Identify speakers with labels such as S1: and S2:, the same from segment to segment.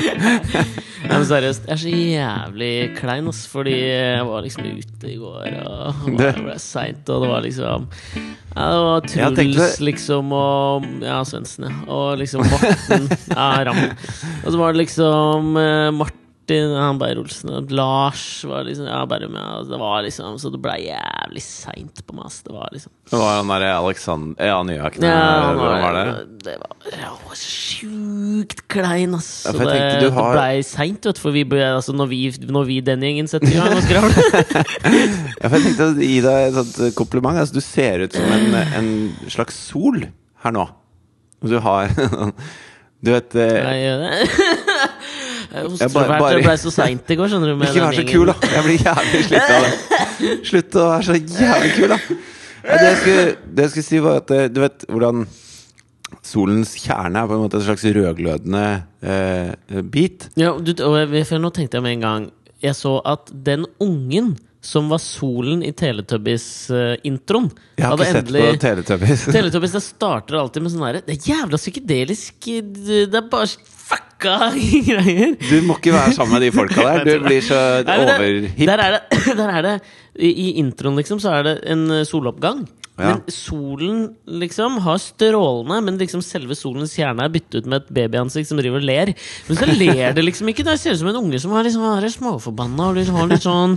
S1: Nei, men seriøst, jeg er så jævlig klein, ass, fordi jeg var liksom ute i går, og det
S2: Det-
S1: ble seint, og det var liksom ja, Det var
S2: Jeg tenkte-
S1: Truls, liksom, og Ja, Svendsen, ja. Og liksom Morten. Ja, Ram. Og så var det liksom eh, Martin ja, Beyer-Olsen og Lars var liksom Ja, Bærum, ja. Det var liksom Så det ble jævlig seint på meg, ass. Det var liksom
S2: Det var han derre Alexander Ja, Nyhaken.
S1: ja,
S2: Eh, hvordan var det?
S1: Det var, jeg var sjukt klein, ass.
S2: Ja,
S1: Og
S2: for jeg
S1: det
S2: tenkte du har-
S1: blei seint, vet du. For vi ble, altså, når, vi, når vi den gjengen setter i gang og skravler
S2: Ja, for jeg tenkte å gi deg et sånt kompliment. Altså, du ser ut som en, eh, en slags sol her nå. Du har Du vet eh,
S1: Nei, det- Jeg hoster
S2: bare-
S1: for
S2: bare-
S1: hvert, Det blei så seint i går, skjønner du. med
S2: Ikke vær så
S1: den
S2: kul, da!
S1: gjengen.
S2: Jeg blir jævlig sliten av det. Slutt å være så jævlig kul, da! Ja, Det jeg skulle, det jeg skulle si, var at eh, du vet hvordan solens kjerne er på en måte en slags rødglødende eh, bit.
S1: Ja, du, og jeg, for nå tenkte jeg med en gang Jeg så at den ungen som var solen i eh, Teletubbies-introen
S2: Jeg har ikke sett på Teletubbies.
S1: Teletubbies det starter alltid med sånn derre Det er jævla psykedelisk Det det er bare fucka greier.
S2: Du må ikke være sammen med de folka der. Du blir så
S1: Nei, men det-
S2: overhipp.
S1: Der er det, der er det i, I introen, liksom, så er det en eh, soloppgang.
S2: Ja.
S1: Men solen liksom har strålene, men liksom selve solens kjerne er byttet ut med et babyansikt som driver og ler. Men så ler det liksom ikke. Det ser ut som en unge som har liksom, er småforbanna og liksom har litt sånn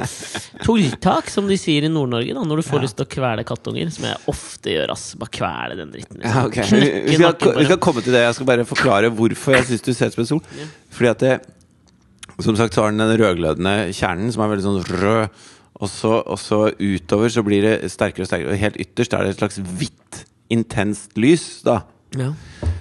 S1: tulltak, som de sier i Nord-Norge, da når du får lyst til å kvele kattunger. Som jeg ofte gjør, ass. Bare kvele den dritten. Liksom.
S2: Ja, ok. Vi,
S1: Knekke
S2: vi, skal,
S1: nakken på
S2: vi
S1: dem.
S2: skal komme til det. Jeg skal bare forklare hvorfor jeg syns du ser ut som en sol. Fordi at det, Som sagt så har den den rødglødende kjernen, som er veldig sånn rød. Og så, og så utover så blir det sterkere og sterkere. Og helt ytterst er det et slags hvitt, intenst lys. da
S1: Ja.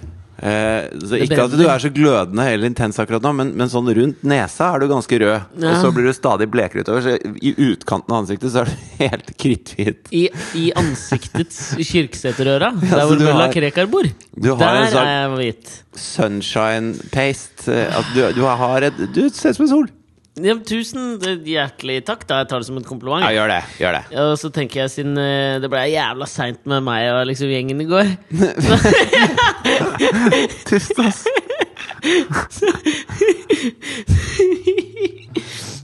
S2: eh, Så
S1: Det
S2: Ikke at du
S1: brenner.
S2: er så glødende eller intens akkurat nå, men, men sånn rundt nesa er du ganske rød. Og
S1: Ja.
S2: så blir du stadig blekere utover. Så i utkanten av ansiktet så er du helt kritthvit.
S1: I, I ansiktets kirkeseterøra, der
S2: så
S1: hvor
S2: du
S1: Mulla
S2: har-
S1: Krekar bor,
S2: Du har
S1: der
S2: en sånn-
S1: er jeg hvit.
S2: Sunshine paste. eh, At du, du har et Du ser ut som en sol.
S1: Ja, tusen hjertelig takk. da Jeg tar det som en kompliment.
S2: Ja, gjør det. Gjør det.
S1: Og så tenker jeg, siden eh, det ble jævla seint med meg og liksom gjengen i går
S2: Tyst, ass.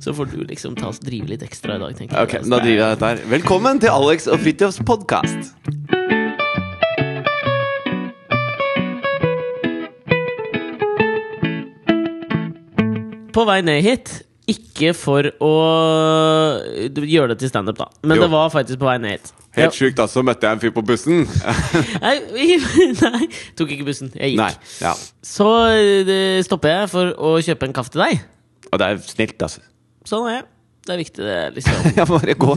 S1: Så får du liksom ta oss drive litt ekstra i dag, tenker
S2: Ok,
S1: jeg.
S2: da driver jeg dette her. Velkommen til Alex og Fridtjofs podkast.
S1: På vei ned hit, ikke for å gjøre det til standup, da, men
S2: Jo.
S1: det var faktisk på vei ned hit. Ja.
S2: sjukt, altså. Møtte jeg en fyr på bussen.
S1: Nei, nei, tok ikke bussen. Jeg gikk.
S2: Nei. Ja.
S1: Så eh, stopper jeg for å kjøpe en kaffe til deg.
S2: Og det er snilt, altså.
S1: Sånn er jeg. Det er viktig, det, liksom.
S2: Jeg må bare gå,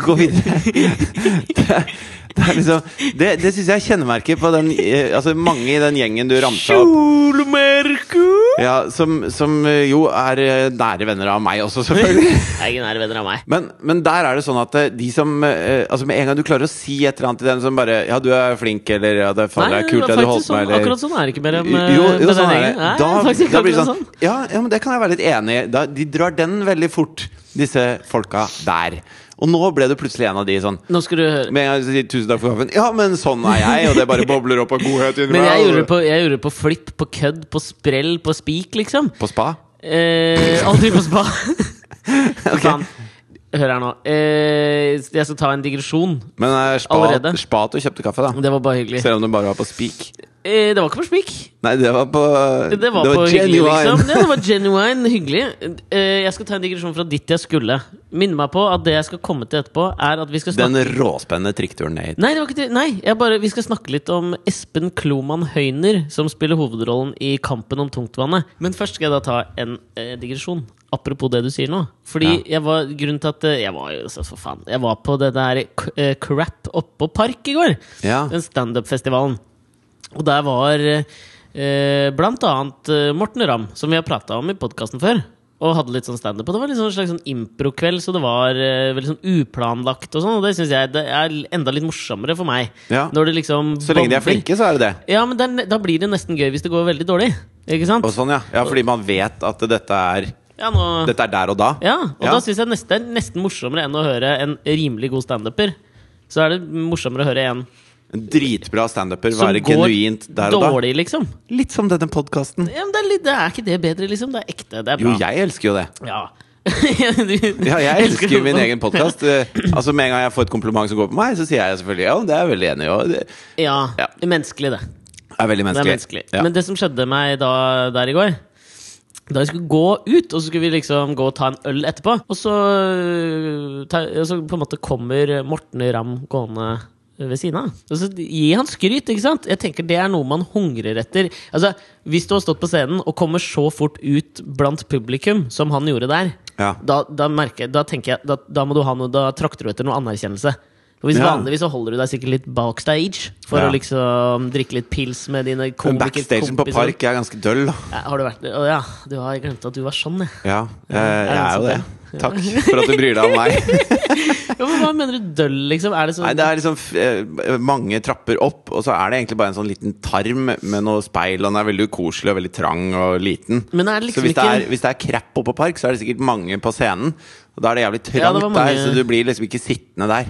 S2: gå videre. Det er, det er liksom Det, det syns jeg er kjennemerket på den eh, Altså mange i den gjengen du ramsa opp.
S1: Kjolemerke!
S2: Ja, som, som eh, jo er eh, nære venner av meg også, selvfølgelig.
S1: Jeg er ikke nære venner av meg.
S2: Men, men der er det sånn at eh, de som eh, Altså Med en gang du klarer å si et eller annet til dem som bare Ja, du er flink, eller ja, det, faen, det er kult
S1: det
S2: det
S1: var faktisk
S2: du holdt
S1: sånn,
S2: med, eller
S1: Akkurat sånn er det ikke mer med,
S2: jo,
S1: med
S2: jo,
S1: den
S2: sånn er det.
S1: gjengen. Nei,
S2: Da,
S1: faktisk
S2: da blir det
S1: akkurat
S2: sånn ja, ja, men det kan jeg være litt enig i. Da- De drar den veldig fort, disse folka der. Og nå ble du plutselig en av de sånn.
S1: Nå skal du høre.
S2: Med en gang du sier 'tusen takk for kaffen', ja, men sånn er jeg, og det bare bobler opp av godhet inni
S1: Men
S2: meg,
S1: jeg
S2: og-
S1: gjorde det på, jeg gjorde det på flipp, på kødd, på sprell, på spik, liksom.
S2: På spa?
S1: Eh, aldri på spa.
S2: Ok.
S1: Faen. Hør her nå. Eh, jeg skal ta en digresjon.
S2: Men det er spa,
S1: Allerede.
S2: spa at du kjøpte kaffe, da.
S1: Det var bare hyggelig.
S2: Selv om det bare var på Speak.
S1: Eh, det var ikke på spik.
S2: Nei, det var på
S1: Det var, på hyggelig,
S2: genuine.
S1: liksom. Ja, det var genuine hyggelig. Eh, jeg skal ta en digresjon fra ditt jeg skulle. Minne meg på at det jeg skal komme til etterpå, er at vi skal snakke
S2: Den råspennende trikkturen ned hit.
S1: Nei, det var ikke det. Nei jeg bare, vi skal snakke litt om Espen Kloman Høyner, som spiller hovedrollen i Kampen om tungtvannet. Men først skal jeg da ta en eh, digresjon. Apropos det du sier nå. Fordi jeg var grunnen til at eh, Jeg var jo så for faen Jeg var på det der k- eh, crap oppå Park i går.
S2: Ja.
S1: Den standup-festivalen. Og der var eh, blant annet eh, Morten Ramm, som vi har prata om i podkasten før. Og hadde litt sånn standup. Og det var litt sånn slags sånn improkveld, så det var eh, veldig sånn uplanlagt. Og sånn, og det syns jeg det er enda litt morsommere for meg.
S2: Ja.
S1: Når det liksom
S2: Så lenge de er
S1: bomber.
S2: flinke, så er det det.
S1: Ja, men det er ne- da blir det nesten gøy hvis det går veldig dårlig. Ikke sant?
S2: Og sånn, ja. ja. Fordi man vet at dette er
S1: Ja, nå...
S2: Dette er der og da.
S1: Ja, og da
S2: Ja.
S1: syns jeg nesten, det er nesten morsommere enn å høre en rimelig god standuper. Så er det morsommere å høre en
S2: En dritbra standuper.
S1: Som
S2: Være
S1: går
S2: genuint der og da.
S1: dårlig, liksom.
S2: Litt som denne podkasten.
S1: Ja, men det, er litt, det er ikke det bedre, liksom. Det er ekte. Det er
S2: Jo,
S1: bra.
S2: jeg elsker jo det.
S1: Ja. Du-
S2: Ja, jeg elsker jo min
S1: Ja.
S2: egen podkast. Altså, med en gang jeg får et kompliment som går på meg, så sier jeg selvfølgelig ja, det er jeg veldig enig i. og Det
S1: Ja.
S2: Ja.
S1: Det er menneskelig, det.
S2: er veldig
S1: Det er
S2: menneskelig.
S1: menneskelig.
S2: Ja.
S1: Men det som skjedde meg da, der i går da jeg skulle gå ut, og så skulle vi liksom gå og ta en øl etterpå. Og så, øh, ta, og så på en måte kommer Morten Ramm gående ved siden av. Og så gir han skryt, ikke sant? Jeg tenker det er noe man hungrer etter. Altså, Hvis du har stått på scenen og kommer så fort ut blant publikum som han gjorde der,
S2: Ja.
S1: da, da, merker, jeg- da tenker jeg da, da må du ha noe, da trakter du etter noe anerkjennelse. For hvis
S2: Ja.
S1: Vanligvis så holder du deg sikkert litt backstage for
S2: Ja.
S1: å liksom drikke litt pils med dine
S2: Men
S1: komiker-
S2: backstagen på
S1: kompiser.
S2: Park er ganske døll, da.
S1: Ja, har du vært Å ja, du har glemt at du var sånn, jeg.
S2: Ja, jeg, jeg er jo det.
S1: sant,
S2: Takk for at du bryr deg om meg.
S1: Ja, men hva mener du døll, liksom? Er det sånn
S2: Nei, Det er liksom f- eh, mange trapper opp, og så er det egentlig bare en sånn liten tarm med noe speil. Og den er veldig ukoselig og veldig trang og liten.
S1: Men er det liksom
S2: så hvis det
S1: ikke-
S2: er, hvis det er crap oppå Park, så er det sikkert mange på scenen. Og da er det jævlig
S1: Ja,
S2: trangt
S1: det var mange-
S2: der, så du blir liksom ikke sittende der.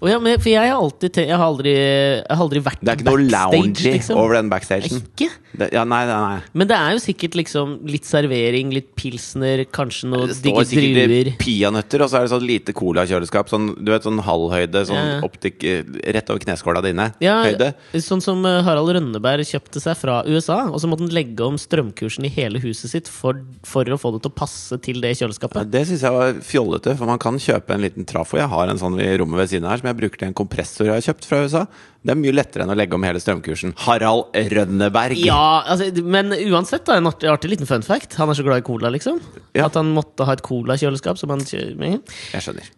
S1: Å ja, men, For jeg har alltid te- Jeg har aldri, jeg har aldri vært
S2: Det er ikke noe loungy
S1: liksom.
S2: over den backstagen.
S1: Ikke?
S2: Det, ja, nei, nei, nei.
S1: Men det er jo sikkert liksom litt servering, litt pilsner, kanskje noe
S2: Det
S1: digge
S2: står
S1: druer.
S2: sikkert peanøtter, og så er det sånn lite cola-kjøleskap. Sånn, du vet, sånn halvhøyde, sånn
S1: Ja, ja.
S2: optikk eh, rett over kneskåla dine.
S1: Ja,
S2: Høyde.
S1: sånn som eh, Harald Rønneberg kjøpte seg fra USA, og så måtte han legge om strømkursen i hele huset sitt for, for å få det til å passe til det
S2: Ja,
S1: kjøleskapet.
S2: det syns jeg var fjollete, for man kan kjøpe en liten trafo. Jeg har en sånn i rommet ved siden av her som jeg bruker til en kompressor jeg har kjøpt fra USA. Det er mye lettere enn å legge om hele strømkursen. Harald Rønneberg!
S1: Ja, altså, men uansett, da, en artig, artig liten fun fact. Han er så glad i cola, liksom.
S2: Ja.
S1: At han måtte ha et colakjøleskap. som han kjø- med.
S2: Jeg skjønner.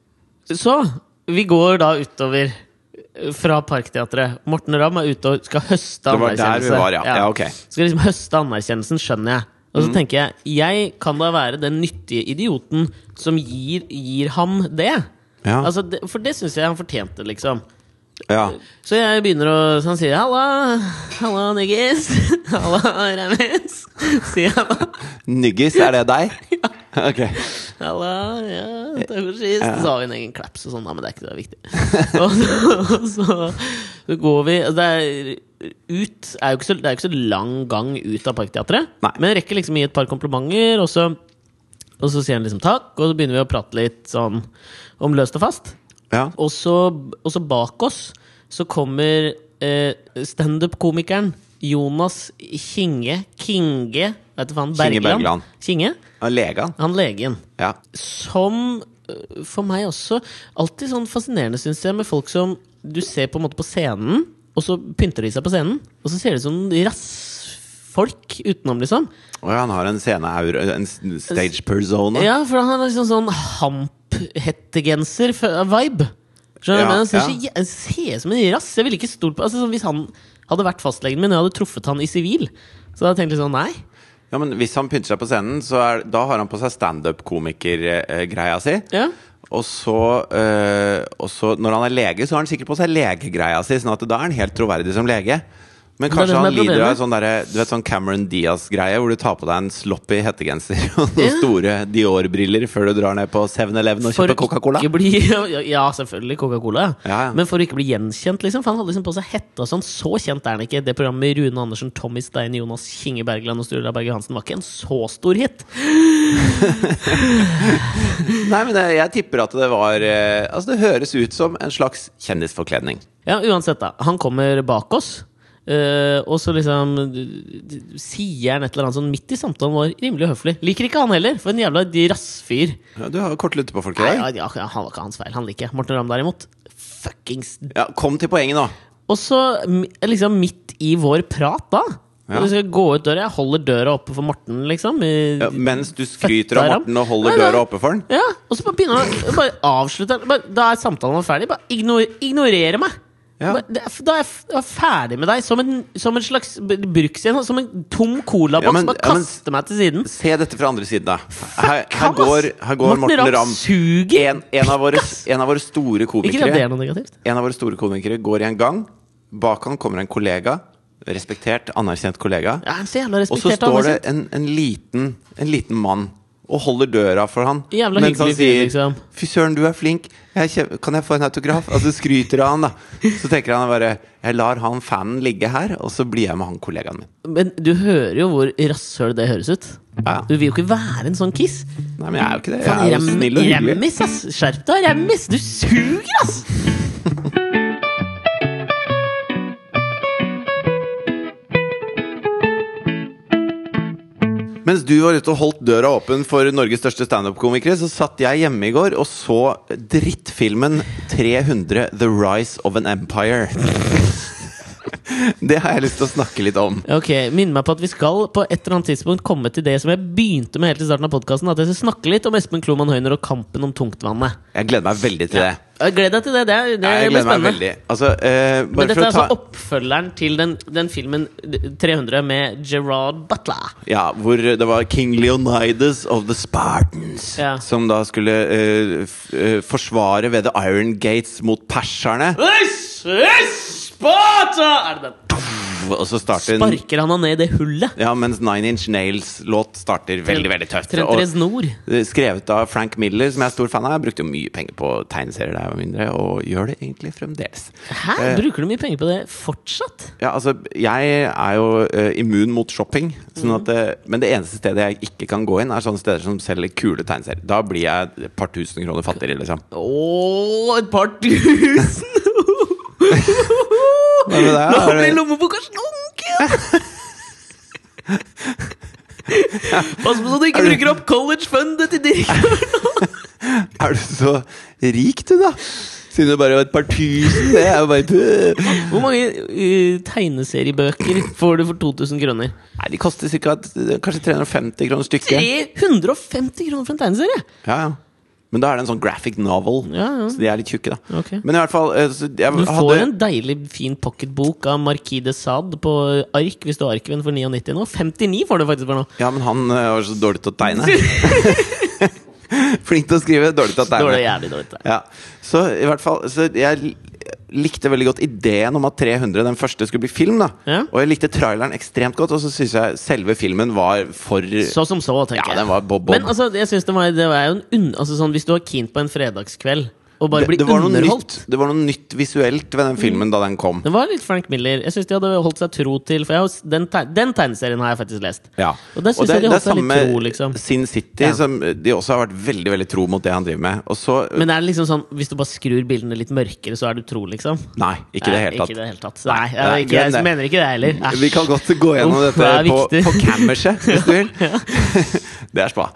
S1: Så vi går da utover eh, fra Parkteatret. Morten Ramm er ute og skal høste
S2: Det var der vi
S1: anerkjennelse.
S2: var, ja. ja ok. Mm.
S1: Skal liksom høste anerkjennelsen, skjønner jeg. Og så tenker jeg, jeg kan da være den nyttige idioten som gir, gir ham det.
S2: Ja.
S1: Altså, det for det syns jeg han fortjente, liksom.
S2: Ja.
S1: Så jeg begynner å Så han sier 'halla, halla, niggis'. 'Halla, Remis'. Sier jeg da.
S2: Nyggis, er det deg? Ok.
S1: 'Halla, ja, takk for sist'. Så har vi en egen klaps og sånn, da, men det er ikke det er viktig. Og så, og så, så går vi og det er, ut, er jo ikke så, det er jo ikke så lang gang ut av Parkteatret,
S2: Nei.
S1: men jeg rekker liksom å gi et par komplimenter, og så, og så sier han liksom takk, og så begynner vi å prate litt sånn om løst og fast.
S2: Ja.
S1: Og så, og så bak oss så kommer eh, standup-komikeren Jonas Kinge Kinge, vet du faen,
S2: Kinge
S1: Bergland.
S2: Bergland.
S1: Kinge,
S2: Og legan.
S1: han legen.
S2: Ja.
S1: Som eh, for meg også alltid sånn fascinerende, syns jeg, med folk som du ser på en måte på scenen, og så pynter de seg på scenen, og så ser de ut som rassfolk utenom, liksom.
S2: Og han har en sceneaura, en s- stage persona.
S1: Ja, for han har liksom sånn hamp-hettegenser-vibe. Skjønner du? hva
S2: Ja,
S1: jeg mener? han ser, så
S2: ja.
S1: jæ- han ser ut som en rass. Jeg ville ikke stolt på altså, sånn, Hvis han hadde vært fastlegen min, og jeg hadde truffet han i sivil, så hadde jeg tenkt litt sånn nei.
S2: Ja, men hvis han pynter seg på scenen, så er, da har han på seg standup-komikergreia si.
S1: Ja.
S2: Og så, eh, og så Når han er lege, så har han sikkert på seg legegreia si, sånn at da er han helt troverdig som lege. Men
S1: er det
S2: kanskje
S1: som
S2: han
S1: er
S2: lider av
S1: problemet.
S2: sånn, derre- du vet, sånn Cameron Diaz-greie, hvor du tar på deg en sloppy hettegenser og noen
S1: Ja.
S2: store Dior-briller før du drar ned på 7-Eleven og
S1: For
S2: kjøper Coca-Cola.
S1: ikke bli, ja, ja, selvfølgelig Coca-Cola.
S2: Ja, ja.
S1: Men for å ikke bli gjenkjent, liksom. For han hadde liksom på seg hette og sånn. Så kjent er han ikke. Det programmet med Rune Andersen, Tommy Stein, Jonas Kinge Bergland og Sturla Berge Hansen var ikke en så stor hit.
S2: Nei, men eh, jeg, jeg tipper at det var eh, Altså, det høres ut som en slags kjendisforkledning.
S1: Ja, uansett da Han kommer bak oss eh, og så liksom d- d- sier han et eller annet sånn midt i samtalen vår, rimelig høflig. Liker ikke han heller, for en jævla rassfyr.
S2: Ja, du har jo kort lutte på folk i
S1: Nei,
S2: dag.
S1: ja, ja, han var ikke hans feil. Han liker jeg. Morten Ramm derimot. Fuckings
S2: Ja, kom til poenget nå.
S1: Og så mi- liksom midt i vår prat, da.
S2: Ja.
S1: Når Vi skal gå ut døra. Jeg holder døra oppe for Morten, liksom. i-
S2: Ja, mens du skryter av
S1: Føtter ham.
S2: Morten og
S1: Nei,
S2: holder
S1: nei.
S2: døra oppe for han.
S1: Ja, og så bare begynner han Bare avslutter han bare, Da er samtalen vår ferdig Bare ignor, ignorere meg
S2: Ja.
S1: Bare, det, er- Da er jeg f- da er jeg ferdig med deg Som en, som en slags b- bruksscene Som en tom colaboks
S2: Ja, men-
S1: Bare
S2: ja, men-
S1: kaster meg til siden
S2: Se dette fra andre siden, da. Her, her,
S1: Kam, ass!
S2: går, her går Morten Ramm.
S1: suger
S2: En, en, av våre, en av våre store
S1: Ikke at det er
S2: komikere
S1: noe negativt
S2: En av våre store komikere går i en gang. Bak han kommer en kollega. Respektert, anerkjent kollega.
S1: Ja, han er så jævla
S2: Og så
S1: respektert
S2: står
S1: av
S2: det
S1: meg
S2: en, en, liten, en liten mann og holder døra for han.
S1: Jævla
S2: mens han
S1: hyggelig fyr,
S2: sier
S1: liksom.
S2: 'Fy søren, du er flink. Jeg kjem, kan jeg få en autograf?' Altså skryter av han, da. Så tenker han bare 'Jeg lar han fanen ligge her, og så blir jeg med han kollegaen min'.
S1: Men du hører jo hvor rasshøl det høres ut.
S2: Ja.
S1: Du vil jo ikke være en sånn kiss.
S2: Nei, men jeg er jo ikke det.
S1: Faen,
S2: Jeg er jo
S1: rem-
S2: snill og hyggelig.
S1: Remmis, ass! Skjerp deg, Remmis! Du suger, ass!
S2: Mens du var ute og holdt døra åpen for Norges største standup-komikere, så satt jeg hjemme i går og så drittfilmen 300 The Rise of an Empire. Det har jeg lyst til å snakke litt om.
S1: Ok, Minn meg på at vi skal på et eller annet tidspunkt komme til det som jeg begynte med helt i starten av podcasten At jeg skal snakke litt om Espen Kloman Høyner og kampen om tungtvannet.
S2: Jeg gleder meg veldig til det.
S1: Jeg Gleder deg til det. Det, er, det blir
S2: Jeg gleder meg
S1: spennende.
S2: veldig. Altså, eh,
S1: Men
S2: bare
S1: dette er
S2: for å ta
S1: altså oppfølgeren til den, den filmen 300 med Gerard Butler.
S2: Ja, hvor det var King Leonidas of the Spartans
S1: Ja.
S2: som da skulle eh, f eh, forsvare ved The Iron Gates mot perserne.
S1: This is Sparta! Ah, Er det den?
S2: Og så starter en-
S1: Sparker han han ned i det hullet?
S2: Ja, mens Nine Inch Nails-låt starter veldig veldig tøft.
S1: Trentores
S2: Og
S1: Nord.
S2: eh, skrevet av Frank Miller, som jeg er stor fan av. Jeg brukte jo mye penger på tegneserier da jeg var mindre, og gjør det egentlig fremdeles.
S1: Hæ?
S2: Eh,
S1: Bruker du mye penger på det fortsatt?
S2: Ja, altså, jeg er jo eh, immun mot shopping, sånn
S1: Mm.
S2: at, eh, men det eneste stedet jeg ikke kan gå inn, er sånne steder som selger kule tegneserier. Da blir jeg et par tusen kroner fattigere, liksom.
S1: Ååå, et par tusen!
S2: Hva med deg?
S1: Nå
S2: Er
S1: blir
S2: det-
S1: lommeboka slunken! Pass på så du ikke bruker opp college-fundet til direktøren!
S2: Er du så rik, du, da? Siden det bare var et par tusen. Det er jo bare Nei,
S1: Hvor mange eh, tegneseriebøker får du for 2000 kroner?
S2: de koster cirka, et- kanskje 350 kroner stykket.
S1: 350 kroner for en tegneserie!
S2: Ja, ja. Men da er det en sånn graphic novel,
S1: Ja, ja.
S2: så de er litt tjukke, da.
S1: Ok.
S2: Men i hvert fall eh, så jeg
S1: Du får
S2: hadde,
S1: en deilig, fin pocketbok av Marquis de Sade på ark, hvis du har arkiven for 99 nå. 59 får du faktisk for nå!
S2: Ja, men han eh, var så dårlig til å tegne. Flink til å skrive, dårlig til å tegne.
S1: Dårlig, jævlig dårlig.
S2: Ja. Så i hvert fall så Jeg li- likte veldig godt ideen om at 300, den første, skulle bli film. da
S1: Ja.
S2: Og jeg likte traileren ekstremt godt, og så syns jeg selve filmen var for
S1: Så som så, tenker
S2: Ja,
S1: jeg.
S2: den var bob bob.
S1: Men altså, jeg synes det var, det var jo en unn, altså, sånn, Hvis du var keen på en fredagskveld og bare
S2: det,
S1: blir
S2: det, var noe
S1: underholdt
S2: nytt, det var noe nytt visuelt ved den filmen da den kom.
S1: Det var litt Frank Miller. Jeg synes de hadde holdt seg tro til For jeg, har s- den, teg- den tegneserien har jeg faktisk lest.
S2: Ja.
S1: Og der synes jeg de holdt seg litt tro, liksom.
S2: Sin City,
S1: Ja.
S2: som de også har vært veldig veldig tro mot det han driver med. Og så
S1: Men er det liksom sånn hvis du bare skrur bildene litt mørkere, så er du tro, liksom?
S2: Nei, ikke i det
S1: Nei,
S2: hele
S1: Ikke
S2: tatt.
S1: det hele tatt. Nei, jeg,
S2: Nei,
S1: ikke, jeg,
S2: glem det.
S1: mener ikke det heller. Æsj.
S2: Vi kan godt gå gjennom
S1: Uff,
S2: dette
S1: det er
S2: på,
S1: viktig.
S2: på kammerset, hvis du vil. det er spa.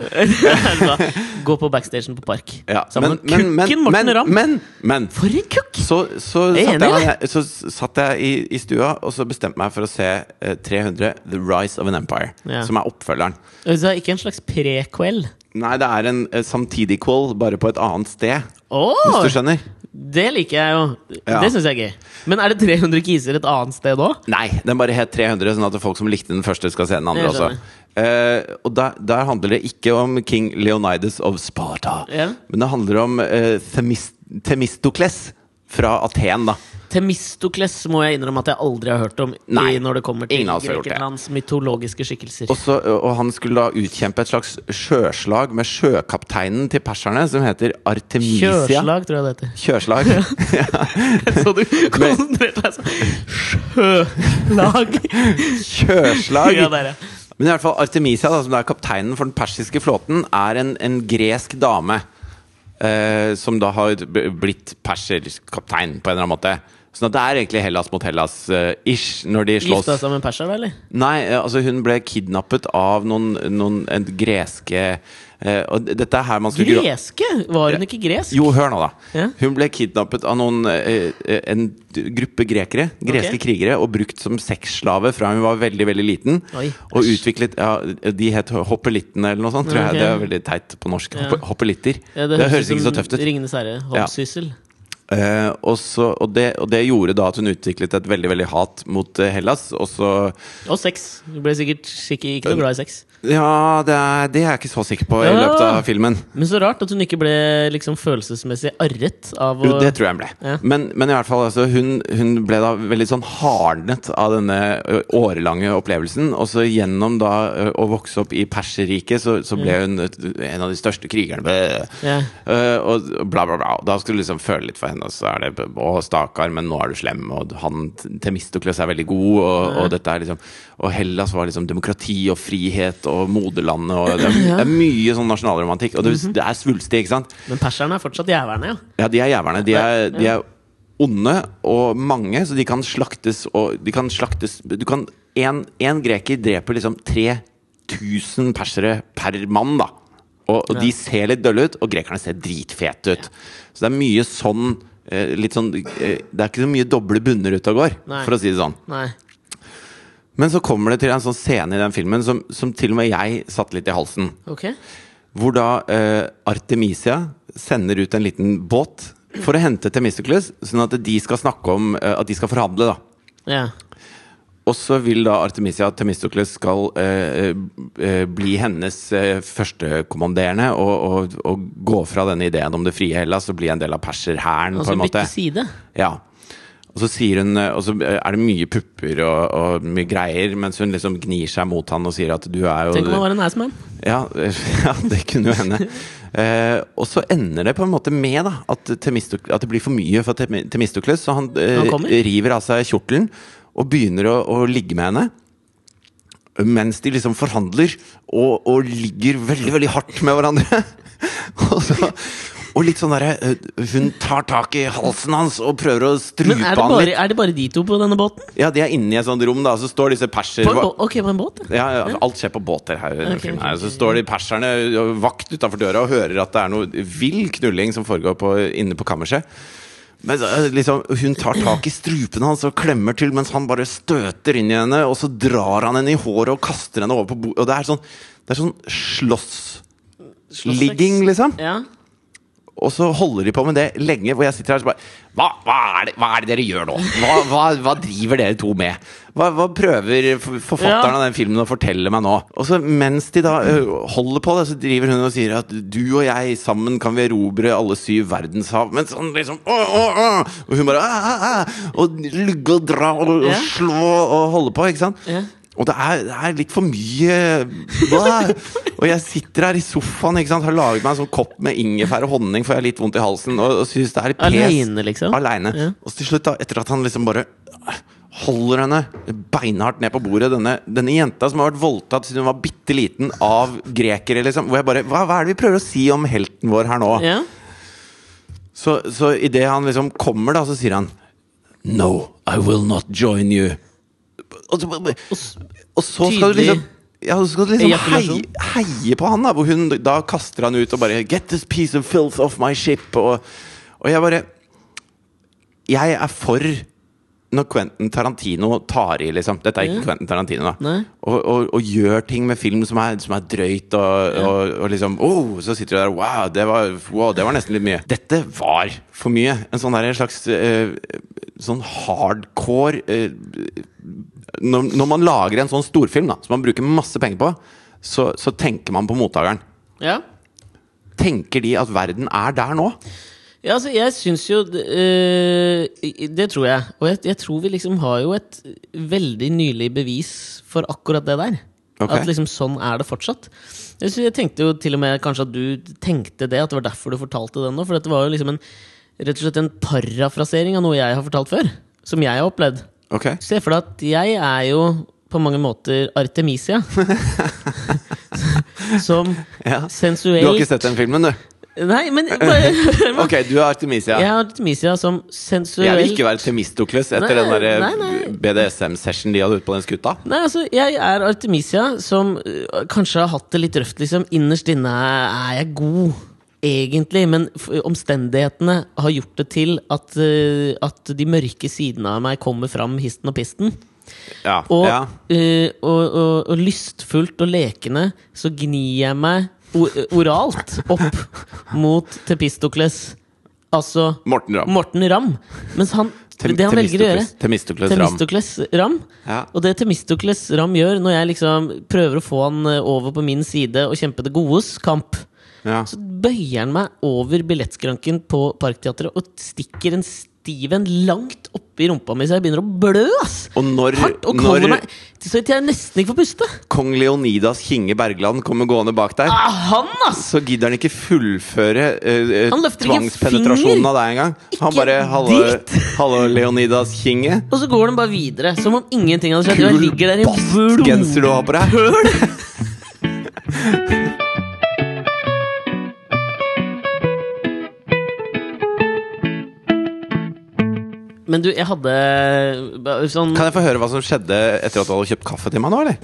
S1: Gå på backstagen på Park.
S2: Ja.
S1: Sammen med kukken Morten
S2: men,
S1: Ramm.
S2: men, men
S1: For en kukk!
S2: Så, så,
S1: Jeg er
S2: satt jeg,
S1: enig
S2: så satt jeg i, i stua og så bestemte meg for å se eh, 300 The Rise of an Empire,
S1: Ja.
S2: som er oppfølgeren.
S1: Altså, ikke en slags prequel.
S2: Nei, det er en eh, samtidig qual, bare på et annet sted. Hvis
S1: Oh,
S2: du skjønner?
S1: det liker jeg jo.
S2: Ja.
S1: Det syns jeg er gøy. Men er det 300 kiser et annet sted òg?
S2: Nei, den bare het 300, sånn at folk som likte den første, skal se den andre
S1: Jeg
S2: også.
S1: skjønner.
S2: Eh, og der, der handler det ikke om King Leonidas of Sparta,
S1: Ja.
S2: men det handler om eh, Themis Themistokles fra Aten, da.
S1: Temistokles må jeg innrømme at jeg aldri har hørt om.
S2: Nei,
S1: i når det kommer til
S2: ingen av oss har gjort det.
S1: Grekenlands mytologiske skikkelser.
S2: Og, så, og han skulle da utkjempe et slags sjøslag med sjøkapteinen til perserne, som heter Artemisia.
S1: Kjørslag, tror jeg det heter.
S2: Kjørslag.
S1: Så du konsentrerte deg sånn. Sjølag!
S2: Kjørslag!
S1: Ja, der, ja.
S2: Men i hvert fall Artemisia, da, som da er kapteinen for den persiske flåten, er en, en gresk dame. eh, som da har b- blitt perserkaptein, på en eller annen måte. Sånn at det er egentlig Hellas mot Hellas-ish når de slåss.
S1: Gifta seg med en perser, da, eller?
S2: Nei, eh, altså hun ble kidnappet av noen, noen en greske eh, Og d- dette er her man skulle
S1: Greske? Var hun ikke gresk?
S2: Jo, hør nå, da.
S1: Ja.
S2: Hun ble kidnappet av noen, eh, eh, en gruppe grekere, greske
S1: Ok.
S2: krigere, og brukt som sexslave fra hun var veldig veldig liten.
S1: Oi.
S2: Og utviklet ja, De het hoppelittene eller noe sånt, tror
S1: Ja, ok.
S2: jeg. Det er veldig teit på norsk.
S1: Ja.
S2: Hoppe- Hoppelitter.
S1: Ja,
S2: det, høres ikke så
S1: som
S2: tøft ut.
S1: Ringenes herre. Hobbsyssel.
S2: Eh, og, så, og, det, og det gjorde da at hun utviklet et veldig veldig hat mot eh, Hellas. Og så
S1: Og sex. Du ble sikkert ikke, ikke noe bra i sex.
S2: Ja, det er, det er jeg ikke så sikker på i
S1: Ja.
S2: løpet av filmen.
S1: Men så rart at hun ikke ble liksom følelsesmessig arret av å
S2: Jo, det tror jeg hun ble.
S1: Ja.
S2: Men, men i hvert fall, altså, hun, hun ble da veldig sånn hardnet av denne ø, årelange opplevelsen. Og så gjennom da ø, å vokse opp i Perserriket, så, så ble hun ø, en av de største krigerne. Bæ.
S1: Ja.
S2: Ø, og bla, bla, bla. Da skal du liksom føle litt for henne, og så er det Å, stakkar, men nå er du slem, og han Temistokles er veldig god, og, og dette er liksom Og Hellas var liksom demokrati og frihet og moderlandet, og det er, det er mye sånn nasjonalromantikk. Og det,
S1: Mhm.
S2: det er svulstig, ikke sant?
S1: Men perserne er fortsatt jæverne, ja.
S2: Ja, de er jævlene. De er, de er onde og mange, så de kan slaktes og De kan slaktes Du kan En, en greker dreper liksom 3000 persere per mann, da. Og, og de ser litt dølle ut, og grekerne ser dritfete ut. Så det er mye sånn eh, Litt sånn eh, Det er ikke så mye doble bunner ute og går,
S1: Nei.
S2: for å si det sånn.
S1: Nei.
S2: Men så kommer det til en sånn scene i den filmen som, som til og med jeg satt litt i halsen.
S1: Ok.
S2: Hvor da eh, Artemisia sender ut en liten båt for å hente Themistocles, sånn at de skal snakke om eh, at de skal forhandle, da.
S1: Ja.
S2: Og så vil da Artemisia at Themistocles skal eh, eh, bli hennes eh, førstekommanderende og, og, og gå fra denne ideen om det frie Hellas og bli en del av perserhæren, på
S1: Altså
S2: en måte.
S1: bytte side.
S2: Ja. Og så sier hun eh, Og så eh, er det mye pupper og, og mye greier, mens hun liksom gnir seg mot han og sier at du er jo
S1: Tenk om han var en assman.
S2: ja, ja, det kunne jo hende. Eh, og så ender det på en måte med da, at, Themisto- at det blir for mye for Themi- Themistokles, så han, eh,
S1: Han kommer?
S2: river av seg kjortelen og begynner å, å ligge med henne. Mens de liksom forhandler og, og ligger veldig, veldig hardt med hverandre. og, så, og litt sånn derre eh, Hun tar tak i halsen hans og prøver å strupe
S1: Men er det,
S2: han
S1: bare,
S2: litt.
S1: er det bare de to på denne båten?
S2: Ja, de er inne i et sånt rom, da, og så står disse perser
S1: På en bå ok, på en båt? ja.
S2: ja, ja, alt skjer på båter her. i denne
S1: Ok,
S2: filmen
S1: ok,
S2: her. Så
S1: ok.
S2: står de perserne og vakt utafor døra og hører at det er noe vill knulling som foregår på, inne på kammerset. Men så, eh, liksom, hun tar tak i strupen hans og klemmer til mens han bare støter inn i henne, og så drar han henne i håret og kaster henne over på bordet. Og det er sånn, det er sånn slåssligging,
S1: Slåsssex.
S2: liksom.
S1: Ja.
S2: Og så holder de på med det lenge, hvor jeg sitter her og så bare hva, hva, er det, hva er det dere gjør nå? Hva, hva, hva driver dere to med? Hva, hva prøver f- forfatteren
S1: Ja.
S2: av den filmen å fortelle meg nå? Og så mens de da ø, holder på det, så driver hun og sier at du og jeg sammen kan vi erobre alle syv verdenshav. Men sånn liksom å, å, å. Og hun bare «Æ, æ, æ», Og lugge og dra og, og
S1: Ja.
S2: slå og holde på, ikke sant?
S1: Ja.
S2: Og det er, det er litt for mye Blæ! Og jeg sitter her i sofaen ikke sant? Har laget meg en sånn kopp med ingefær og honning For jeg har litt vondt i halsen Og, og synes det er litt pes
S1: Alene, liksom?
S2: Alene.
S1: Ja.
S2: Og til slutt da, etter at han liksom bare Holder henne beinhardt ned på bordet Denne, denne jenta som har vært voldtatt Siden hun var bitteliten av grekere liksom Hvor jeg bare, hva, hva er det vi prøver å si om helten vår her nå?
S1: ja.
S2: Ah. Så, så i det han liksom kommer da, så sier han No, I will not join you Og så, og så skal du
S1: Tydelig.
S2: liksom ja, så skal du liksom heie,
S1: Ejakulasjon.
S2: heie på han da Hvor hun da kaster han ut og bare Get this piece of filth off my ship Og, og jeg bare Jeg er for Når Quentin Tarantino tar i liksom Dette er ikke Quentin Tarantino da
S1: Nei.
S2: og, og, og gjør ting med film som er, som er drøyt og, og, og liksom oh, Så sitter du der wow det, var, wow, det var nesten litt mye. Dette var for mye. En sånn der, en slags eh, sånn hardcore eh, når, når man lager en sånn storfilm da, som man bruker masse penger på, så, så tenker man på mottakeren.
S1: ja.
S2: Tenker de at verden er der nå?
S1: Ja, altså, jeg syns jo øh, Det tror jeg. Og jeg, jeg tror vi liksom har jo et veldig nylig bevis for akkurat det der.
S2: Ok.
S1: At liksom sånn er det fortsatt. Jeg, synes, jeg tenkte jo til og med kanskje at du tenkte det, at det var derfor du fortalte det nå. For dette var jo liksom en rett og slett en parafrasering av noe jeg har fortalt før. Som jeg har opplevd.
S2: Ok.
S1: Se for deg at jeg er jo på mange måter Artemisia. som
S2: Ja. Du
S1: sensuelt
S2: har ikke sett den filmen, du?
S1: Nei, men bare hør meg.
S2: Ok, du er Artemisia.
S1: Jeg har Artemisia som
S2: Jeg vil
S1: sensuelt
S2: ikke være Temistokles etter
S1: Nei, nei,
S2: den
S1: nei.
S2: der eh, BDSM-session de hadde ute på den skuta.
S1: Nei, altså, jeg er Artemisia som øh, kanskje har hatt det litt røft, liksom. Innerst inne er jeg god, egentlig, men f omstendighetene har gjort det til at, øh, at de mørke sidene av meg kommer fram histen og pisten.
S2: Ja,
S1: Og,
S2: ja.
S1: øh, og, og, og lystfullt og lekende så gnir jeg meg o- oralt opp mot Tepistokles. Altså
S2: Morten Ramm.
S1: Morten Ramm. Mens han Men det han velger å gjøre-
S2: Temistokles Ram.
S1: Temistokles Ram.
S2: Ja.
S1: Og det Temistokles Ram gjør når jeg liksom prøver å få han eh, over på min side og kjempe det godes kamp,
S2: Ja.
S1: så bøyer han meg over billettskranken på Parkteatret og stikker en stiv en langt oppi rumpa mi, så jeg begynner å blø, ass!
S2: Og når,
S1: Hardt, og kaller
S2: når
S1: meg Så til jeg nesten ikke får puste.
S2: kong Leonidas Kinge Bergland kommer gående bak der,
S1: Ah, han, ass!
S2: så gidder han ikke fullføre eh, eh,
S1: Han løfter ikke en
S2: tvangspenetrasjonen
S1: finger.
S2: av deg engang. Han
S1: Ikke
S2: bare
S1: en
S2: Hallo,
S1: dritt.»
S2: hallo Leonidas Kinge.
S1: Og så går den bare videre, som om ingenting hadde skjedd. Og jeg
S2: Kul
S1: ligger der i
S2: bastgenser du har på deg.
S1: blodpøl. Men du, jeg hadde ba- sånn
S2: Kan jeg få høre hva som skjedde etter at du hadde kjøpt kaffe til meg nå, eller?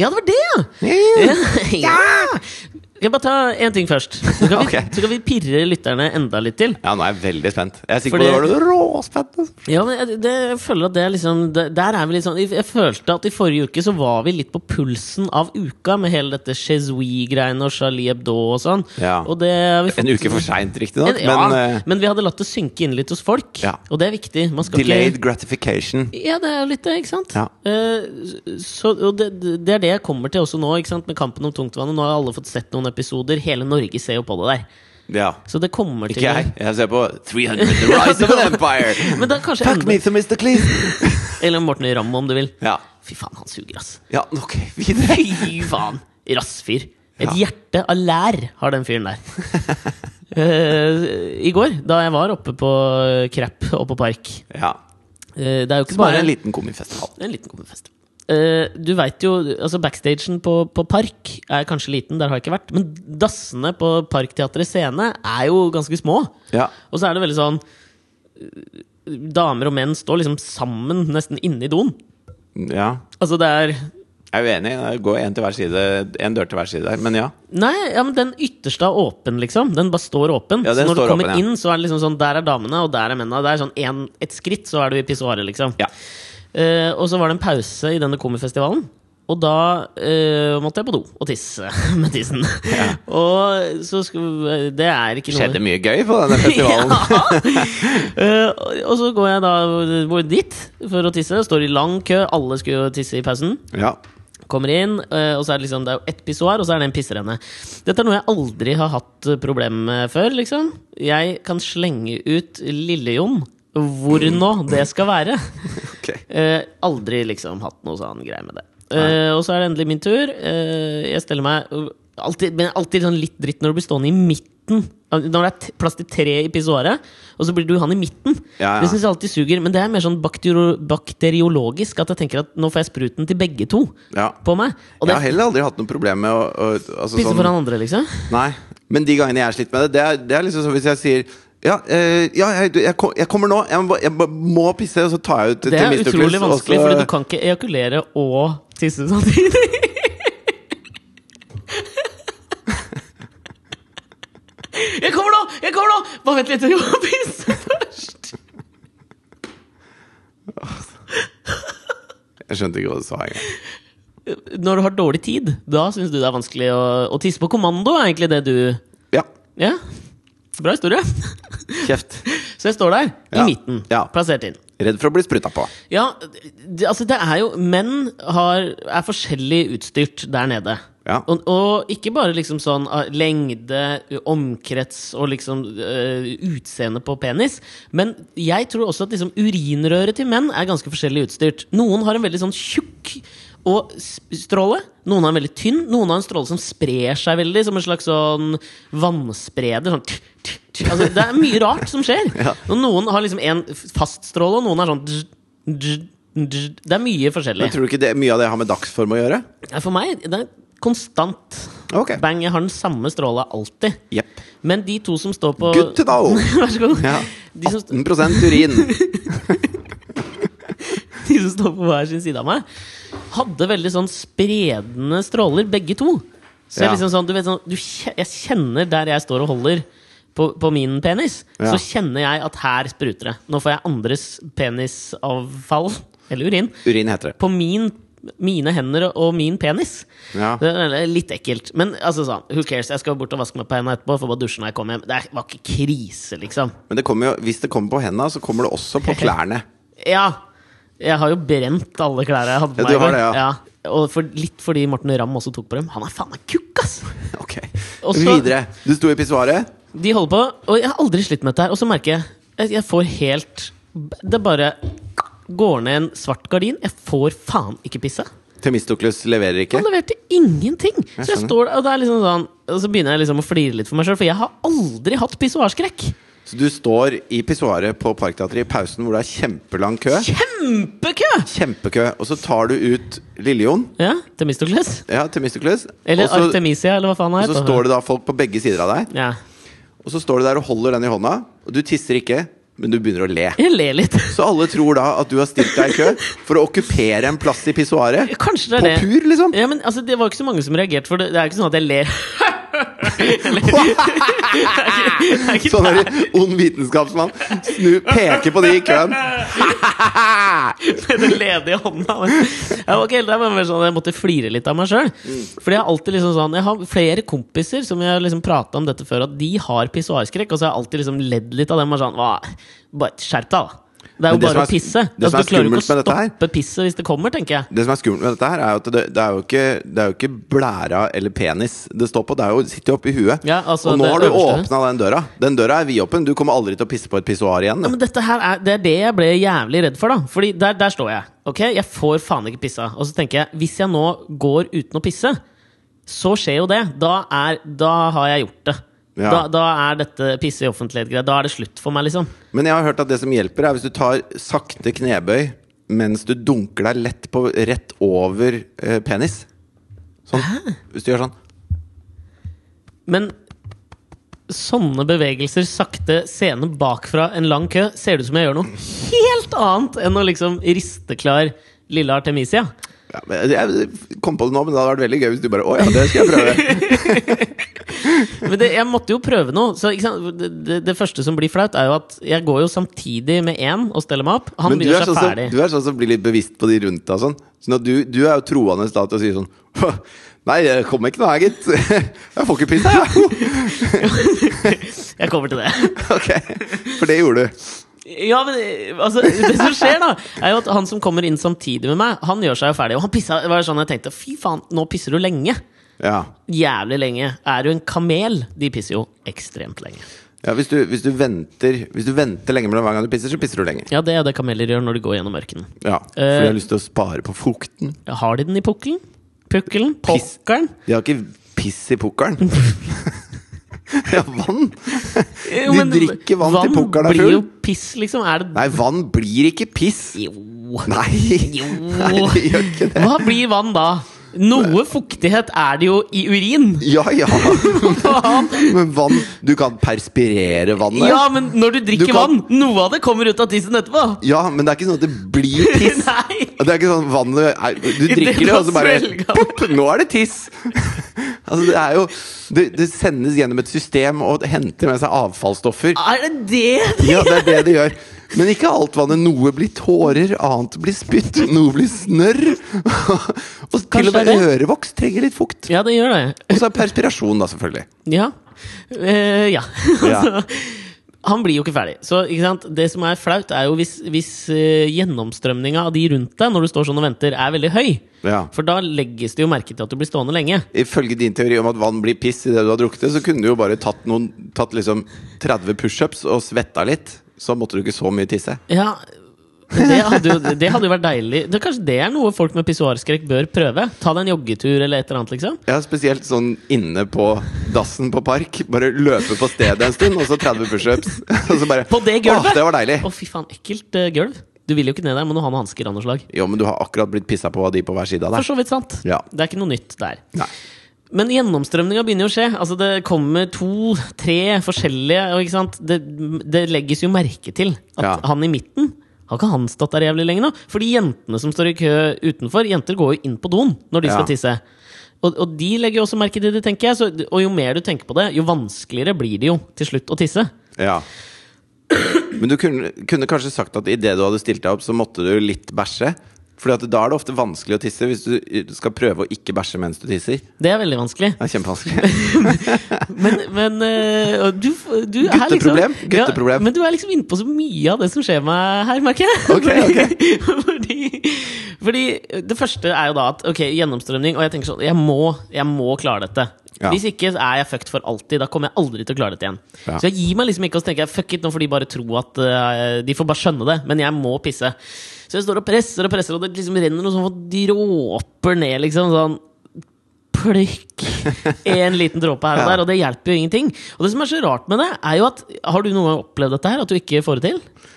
S1: Ja, det var det, ja!
S2: Ja.
S1: ja. Skal jeg bare ta én ting først? Så kan, vi,
S2: Ok.
S1: så kan vi pirre lytterne enda litt til.
S2: Ja, nå er jeg veldig spent. Jeg er sikker
S1: Fordi-
S2: på det var altså. det råspennende.
S1: Ja, men jeg, det, jeg føler at det er liksom det, Der er vi litt sånn jeg, jeg følte at i forrige uke så var vi litt på pulsen av uka med hele dette Chezoui-greiene og Charlie Hebdo og sånn.
S2: Ja.
S1: Og det har vi fått
S2: En uke for seint, riktignok,
S1: En- ja,
S2: men eh,
S1: men vi hadde latt det synke inn litt hos folk,
S2: Ja.
S1: og det er viktig. Man skal
S2: delayed gratification.
S1: ikke Ja, det er jo litt det, ikke sant?
S2: Ja.
S1: Eh, så, og det, det er det jeg kommer til også nå, ikke sant? med Kampen om tungtvannet. Nå har alle fått sett noen episoder. Hele Norge ser jo på det der.
S2: Ja.
S1: Så det kommer til
S2: Ikke jeg. Jeg ser på 300 The Rise of an Empire.
S1: Men da kanskje
S2: Fuck
S1: enda-
S2: me to Mr. Cleese.
S1: Eller Morten Ramm, om du vil.
S2: Ja.
S1: Fy faen, han suger, ass.
S2: ja, ok, videre.
S1: Fy faen! Rassfyr. Et
S2: Ja.
S1: hjerte av lær har den fyren der. Eh, I går, da jeg var oppe på Krepp og på Park
S2: Ja.
S1: eh, Det er jo ikke
S2: Som er
S1: bare
S2: en liten komifestival.
S1: en liten kommefest. Eh, du veit jo altså Backstagen på, på Park er kanskje liten, der har jeg ikke vært. Men dassene på Parkteatret Scene er jo ganske små.
S2: Ja.
S1: Og så er det veldig sånn eh, Damer og menn står liksom sammen, nesten inne i doen.
S2: ja.
S1: Altså det er
S2: Jeg er uenig. Det går én til hver side. En dør til hver side der. Men ja.
S1: Nei, ja, men den ytterste er åpen, liksom. Den bare står åpen.
S2: Ja,
S1: så
S2: den
S1: når du
S2: står
S1: kommer
S2: åpen, ja.
S1: inn, så er det liksom sånn Der er damene, og der er mennene. Det er sånn en, et skritt, så er du i pissoaret, liksom.
S2: Ja.
S1: Eh, og så var det en pause i denne komifestivalen. Og da eh, måtte jeg på do og tisse med tissen. og så skulle Det er ikke
S2: Det
S1: noe
S2: skjedde mye gøy på denne festivalen.
S1: Eh, og- og så går jeg da hvor- dit for å tisse. Står i lang kø. Alle skulle jo tisse i pausen.
S2: Ja.
S1: Kommer inn, eh, og så er det liksom Det er jo ett pissoar, og så er det en pisserenne. Dette er noe jeg aldri har hatt eh, problem med før, liksom. Jeg kan slenge ut Lille-Jon hvor nå det skal være.
S2: Ok.
S1: Eh, aldri liksom hatt noe sånn greie med det. Eh, og så er det endelig min tur. Eh, jeg steller meg øh, alltid, Men alltid sånn litt dritt når du blir stående i midten. Når det er t- plass til tre i pissoaret, og så blir du han i midten.
S2: Ja, ja.
S1: Det syns jeg alltid suger. Men det er mer sånn baktero- bakteriologisk at jeg tenker at nå får jeg spruten til begge to
S2: Ja.
S1: på meg. Og
S2: Jeg
S1: det
S2: har heller aldri hatt noe problem med å, å altså,
S1: pisser
S2: sånn-
S1: foran andre, liksom.
S2: Nei, men de gangene jeg har slitt med det, det er, det er liksom som hvis jeg sier ja, eh, ja jeg, jeg, kom, jeg kommer nå. Jeg må, jeg må pisse, og så tar jeg ut
S1: Det er
S2: Mr. Plus,
S1: utrolig
S2: og
S1: vanskelig,
S2: så-
S1: Fordi du kan ikke ejakulere og tisse samtidig. Jeg kommer nå! Jeg kommer nå! Bare vent litt, jeg må pisse først.
S2: Jeg skjønte ikke hva du sa engang.
S1: Når du har dårlig tid, da syns du det er vanskelig å, å tisse på kommando, er egentlig det du
S2: Ja.
S1: Ja? Bra historie.
S2: Kjeft.
S1: Så jeg står der, i
S2: Ja,
S1: midten,
S2: ja.
S1: plassert inn.
S2: Redd for å bli spruta på.
S1: Ja, det, altså det er jo Menn har, er forskjellig utstyrt der nede.
S2: Ja.
S1: Og, og ikke bare liksom sånn ah, lengde, omkrets og liksom eh, utseende på penis. Men jeg tror også at liksom urinrøret til menn er ganske forskjellig utstyrt. Noen har en veldig sånn tjukk og s- stråle. Noen har en veldig tynn. Noen har en stråle som sprer seg veldig, som en slags sånn vannspreder. Sånn t- t- t- altså, det er mye rart som skjer.
S2: Ja.
S1: Og noen har liksom en f- fast stråle, og noen er sånn dz- dz- dz- Det er mye forskjellig.
S2: Men tror du ikke det, mye av det har med dagsform å gjøre?
S1: Nei, For meg det er konstant.
S2: Ok.
S1: Bang, jeg har den samme stråla alltid.
S2: Jepp.
S1: Men de to som står på
S2: Good to know!
S1: Vær så god.
S2: Ja.
S1: De, som,
S2: 18 urin.
S1: de som står på hver sin side av meg, hadde veldig sånn spredende stråler, begge to. Så jeg
S2: Ja.
S1: liksom sånn, du vet sånn du, kje- Jeg kjenner der jeg står og holder på, på min penis,
S2: Ja.
S1: så kjenner jeg at her spruter det. Nå får jeg andres penisavfall, eller urin,
S2: Urin heter det.
S1: på min mine hender og min penis.
S2: Ja.
S1: Det er litt ekkelt. Men altså sånn, who cares? Jeg skal bort og vaske meg på hendene etterpå. Får bare dusje når jeg kommer hjem. Det er- var ikke krise, liksom.
S2: Men det kommer jo, hvis det kommer på henda, så kommer det også på klærne.
S1: Ja. Jeg har jo brent alle klærne jeg hadde på meg.
S2: Ja,
S1: i
S2: du
S1: går.
S2: har det, ja.
S1: Og for, litt fordi Morten Ramm også tok på dem. Han er faen meg kukk, ass!
S2: Ok,
S1: Og så-
S2: Videre. Du sto i pissoaret.
S1: De holder på, og jeg har aldri slitt med dette her. Og så merker jeg at jeg får helt Det bare går ned en svart gardin. Jeg får faen ikke pisse.
S2: Themistokles leverer ikke.
S1: Han leverte ingenting! Så jeg
S2: skjønner.
S1: står der, og det er liksom sånn Og så begynner jeg liksom å flire litt for meg sjøl, for jeg har aldri hatt pissoarskrekk.
S2: Så du står i pissoaret på Parkteatret i pausen hvor det er kjempelang kø.
S1: Kjempekø!
S2: Kjempekø. Og så tar du ut Lille-Jon.
S1: Ja, Temistokles.
S2: Ja, Themistokles.
S1: Eller
S2: Og så-
S1: Artemisia, eller hva faen han
S2: Og
S1: heter.
S2: så står det da folk på begge sider av deg.
S1: Ja.
S2: Og så står du der og holder den i hånda. Og du tisser ikke, men du begynner å le.
S1: Jeg ler litt.
S2: Så alle tror da at du har stilt deg i kø for å okkupere en plass i pissoaret.
S1: Kanskje det er
S2: På
S1: det.
S2: pur, liksom.
S1: Ja, men altså, Det var ikke så mange som reagerte, for det, det er ikke sånn at jeg ler. Eller- det er ikke, det er ikke
S2: Sånn er det ond vitenskapsmann. Snu, peker på de i køen.
S1: med den ledige hånda. Men jeg var ikke helt der, men mer sånn, at jeg måtte flire litt av meg sjøl.
S2: Mm.
S1: Fordi jeg har alltid liksom sånn Jeg har flere kompiser som jeg har liksom prata om dette før, at de har pissoarskrekk. Og så har jeg alltid liksom ledd litt av dem. Og sånn, «Hva? bare skjerp deg, da. Det er
S2: Men
S1: jo
S2: det som
S1: bare
S2: er
S1: å pisse.
S2: sk- det som
S1: Altså, du
S2: er
S1: klarer jo ikke
S2: skummelt
S1: å
S2: med dette her-
S1: stoppe pisset hvis det kommer, tenker jeg.
S2: Det som er skummelt med dette her, er jo at det, det, er jo ikke, det er jo ikke blæra eller penis det står på. Det er jo, sitter jo oppi huet.
S1: Ja, altså,
S2: og nå
S1: det
S2: har du
S1: øverste.
S2: åpna den døra. Den døra er vidåpen. Du kommer aldri til å pisse på et pissoar igjen.
S1: Ja, men dette her er, det er det jeg ble jævlig redd for, da. Fordi der, der står jeg. Ok, Jeg får faen ikke pissa. Og så tenker jeg, hvis jeg nå går uten å pisse, så skjer jo det. Da, er, da har jeg gjort det.
S2: Ja.
S1: Da, da er dette pisse i offentlighet-greia. Da er det slutt for meg, liksom.
S2: Men jeg har hørt at det som hjelper, er hvis du tar sakte knebøy mens du dunker deg lett på rett over eh, penis. Sånn. Hvis du gjør sånn.
S1: Men sånne bevegelser, sakte, scene bakfra, en lang kø, ser det ut som jeg gjør noe helt annet enn å liksom riste klar lille Artemisia.
S2: Ja, men jeg kom på det nå, men det hadde vært veldig gøy hvis du bare Å ja, det skal jeg prøve.
S1: Men det, jeg måtte jo prøve noe. Så ikke sant? Det, det, det første som blir flaut, er jo at jeg går jo samtidig med én og steller meg opp. Han
S2: Men du er,
S1: begynner seg
S2: sånn som,
S1: ferdig.
S2: du er sånn som blir litt bevisst på de rundt deg og sånn. Sånn at du, du er jo troende da til å si sånn «Hå, Nei, jeg kommer ikke nå, jeg, gitt. Jeg får ikke pizza, jeg.
S1: Jeg kommer til det.
S2: Ok. For det gjorde du.
S1: Ja, men altså, det som skjer, da, er jo at han som kommer inn samtidig med meg, han gjør seg jo ferdig. Og han pissa. Det var sånn jeg tenkte, fy faen, nå pisser du lenge.
S2: Ja.
S1: Jævlig lenge. Er du en kamel? De pisser jo ekstremt lenge.
S2: ja hvis, du, hvis, du venter, hvis du venter lenge mellom hver gang du pisser, så pisser du lenger.
S1: Ja, det er det kameler gjør når de går gjennom ørkenen.
S2: Ja. For
S1: Eh.
S2: de har lyst til å spare på fukten.
S1: Ja, Har de den i pukkelen? Pukkelen?
S2: Piss.
S1: Pokkeren?
S2: De har ikke piss i pukkelen. De har vann.
S1: De
S2: drikker vann til pukkelen er
S1: Blir jo
S2: full.
S1: piss, liksom. Er det
S2: Nei, vann blir ikke piss.
S1: Jo.
S2: Nei.
S1: Jo.
S2: Nei, de gjør ikke det.
S1: Hva blir vann da? Noe fuktighet er det jo i urin!
S2: Ja, ja.
S1: Faen.
S2: Men vann Du kan perspirere vannet.
S1: Ja, men når du drikker
S2: Du kan-
S1: vann, noe av det kommer ut av tissen etterpå!
S2: Ja, men det er ikke sånn at det blir tiss.
S1: Nei!
S2: Og Det er ikke sånn vannet er, Du
S1: det
S2: drikker det,
S1: man
S2: og så bare
S1: svelger det.
S2: Pop! Nå er det tiss! Altså, det er jo Det, det sendes gjennom et system og henter med seg avfallsstoffer.
S1: Er det det?
S2: Ja, det er det det gjør. Men ikke alt vannet. Noe blir tårer, annet blir spytt, noe blir snørr. Og til og
S1: Kanskje
S2: med
S1: det er
S2: ørevoks trenger litt fukt.
S1: Ja, det gjør det.
S2: Og så er perspirasjon, da, selvfølgelig.
S1: Ja. Eh, ja.
S2: Ja.
S1: Altså, han blir jo ikke ferdig. Så ikke sant? det som er flaut, er jo hvis, hvis eh, gjennomstrømninga av de rundt deg når du står sånn og venter, er veldig høy.
S2: Ja.
S1: For da legges det jo merke til at du blir stående lenge.
S2: Ifølge din teori om at vann blir piss i det du har drukket, det, så kunne du jo bare tatt, noen, tatt liksom 30 pushups og svetta litt. Så måtte du ikke så mye tisse.
S1: Ja, det hadde, jo, det hadde jo vært deilig. Det, kanskje det er noe folk med pissoarskrekk bør prøve? Ta deg en joggetur eller et eller annet, liksom.
S2: Ja, Spesielt sånn inne på dassen på Park. Bare løpe på stedet en stund, og så 30 pushups. Og så bare
S1: På det gulvet?
S2: Åh, det var deilig!
S1: Å, fy faen, ekkelt eh, gulv. Du vil jo ikke ned der, men du har noen hansker av noe slag.
S2: Jo, men du har akkurat blitt pissa på av de på hver side av
S1: For
S2: deg.
S1: så vidt sant.
S2: Ja.
S1: Det er ikke noe nytt der.
S2: Nei.
S1: Men gjennomstrømninga begynner jo å skje. Altså Det kommer to-tre forskjellige. Og ikke sant? Det, det legges jo merke til at
S2: Ja.
S1: han i midten har ikke han stått der jævlig lenge nå? For de jentene som står i kø utenfor, jenter går jo inn på doen når de
S2: Ja.
S1: skal tisse. Og, og de legger jo også merke til det, tenker jeg. Så, og jo mer du tenker på det, jo vanskeligere blir det jo til slutt å tisse.
S2: Ja. Men du kunne, kunne kanskje sagt at idet du hadde stilt deg opp, så måtte du litt bæsje. Fordi at da er det ofte vanskelig å tisse hvis du skal prøve å ikke bæsje mens du tisser.
S1: Det er veldig vanskelig.
S2: Det er kjempevanskelig.
S1: Men, men eh, og du, du er liksom
S2: Gutteproblem, gutteproblem.
S1: Ja, men du er liksom inne på så mye av det som skjer meg her, merker jeg.
S2: Ok,
S1: fordi, fordi, fordi det første er jo da at Ok, gjennomstrømning. Og jeg tenker sånn Jeg må, jeg må klare dette.
S2: Ja.
S1: Hvis ikke så er jeg fucked for alltid. Da kommer jeg aldri til å klare dette igjen.
S2: Ja.
S1: Så jeg gir meg liksom ikke og så tenker jeg, fuck it, nå får de bare tro at eh, De får bare skjønne det, men jeg må pisse. Så jeg står og presser og presser, og det liksom renner noen sånne dråper ned. liksom sånn plukk en liten dråpe her og der, og det hjelper jo ingenting. Og det som er så rart med det, er jo at Har du noen gang opplevd dette her? At du ikke får det til?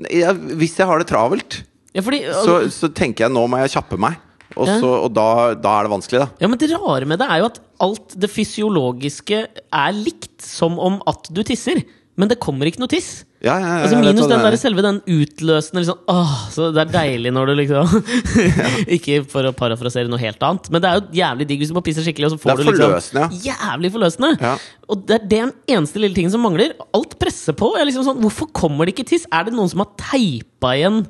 S2: Nei, ja, Hvis jeg har det travelt,
S1: Ja, fordi, altså,
S2: så, så tenker jeg nå må jeg kjappe meg. Og,
S1: Ja.
S2: så, og da, da er det vanskelig, da.
S1: ja, men det rare med det er jo at alt det fysiologiske er likt som om at du tisser. Men det kommer ikke noe tiss.
S2: Ja, ja, ja,
S1: Altså
S2: jeg vet
S1: Minus
S2: hva du
S1: den
S2: mener.
S1: der, selve den utløsende liksom, Åh, så Det er deilig når du liksom Ikke for å parafrasere noe helt annet, men det er jo jævlig digg hvis du må pisse skikkelig. Og så får
S2: Det er
S1: du liksom,
S2: forløsende,
S1: Jævlig forløsende.
S2: Ja.
S1: Og det er den eneste lille tingen som mangler. Alt presser på. Jeg er liksom sånn, hvorfor kommer det ikke tiss? Er det noen som har teipa igjen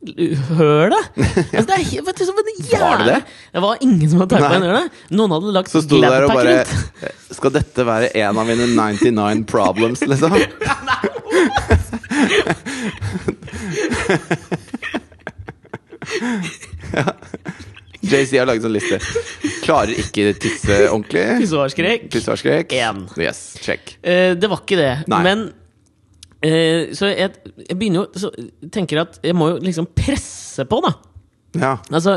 S1: hølet? Altså, det er, he- vet du, så- men jævlig-
S2: Var det det?
S1: Det var ingen som hadde teipa
S2: Nei.
S1: igjen hølet. Noen hadde lagt
S2: Så sto du der og
S1: Gladpack
S2: bare eh,
S1: rundt.
S2: Skal dette være en av mine 99 problems, liksom? JC har laget sånn liste. Klarer ikke tisse ordentlig.
S1: Pissoarskrekk.
S2: Pissoarskrek.
S1: En.
S2: Yes, check.
S1: Eh, det var ikke det.
S2: Nei.
S1: Men eh, Så jeg, jeg begynner jo så tenker at jeg må jo liksom presse på, da.
S2: Ja,
S1: Altså,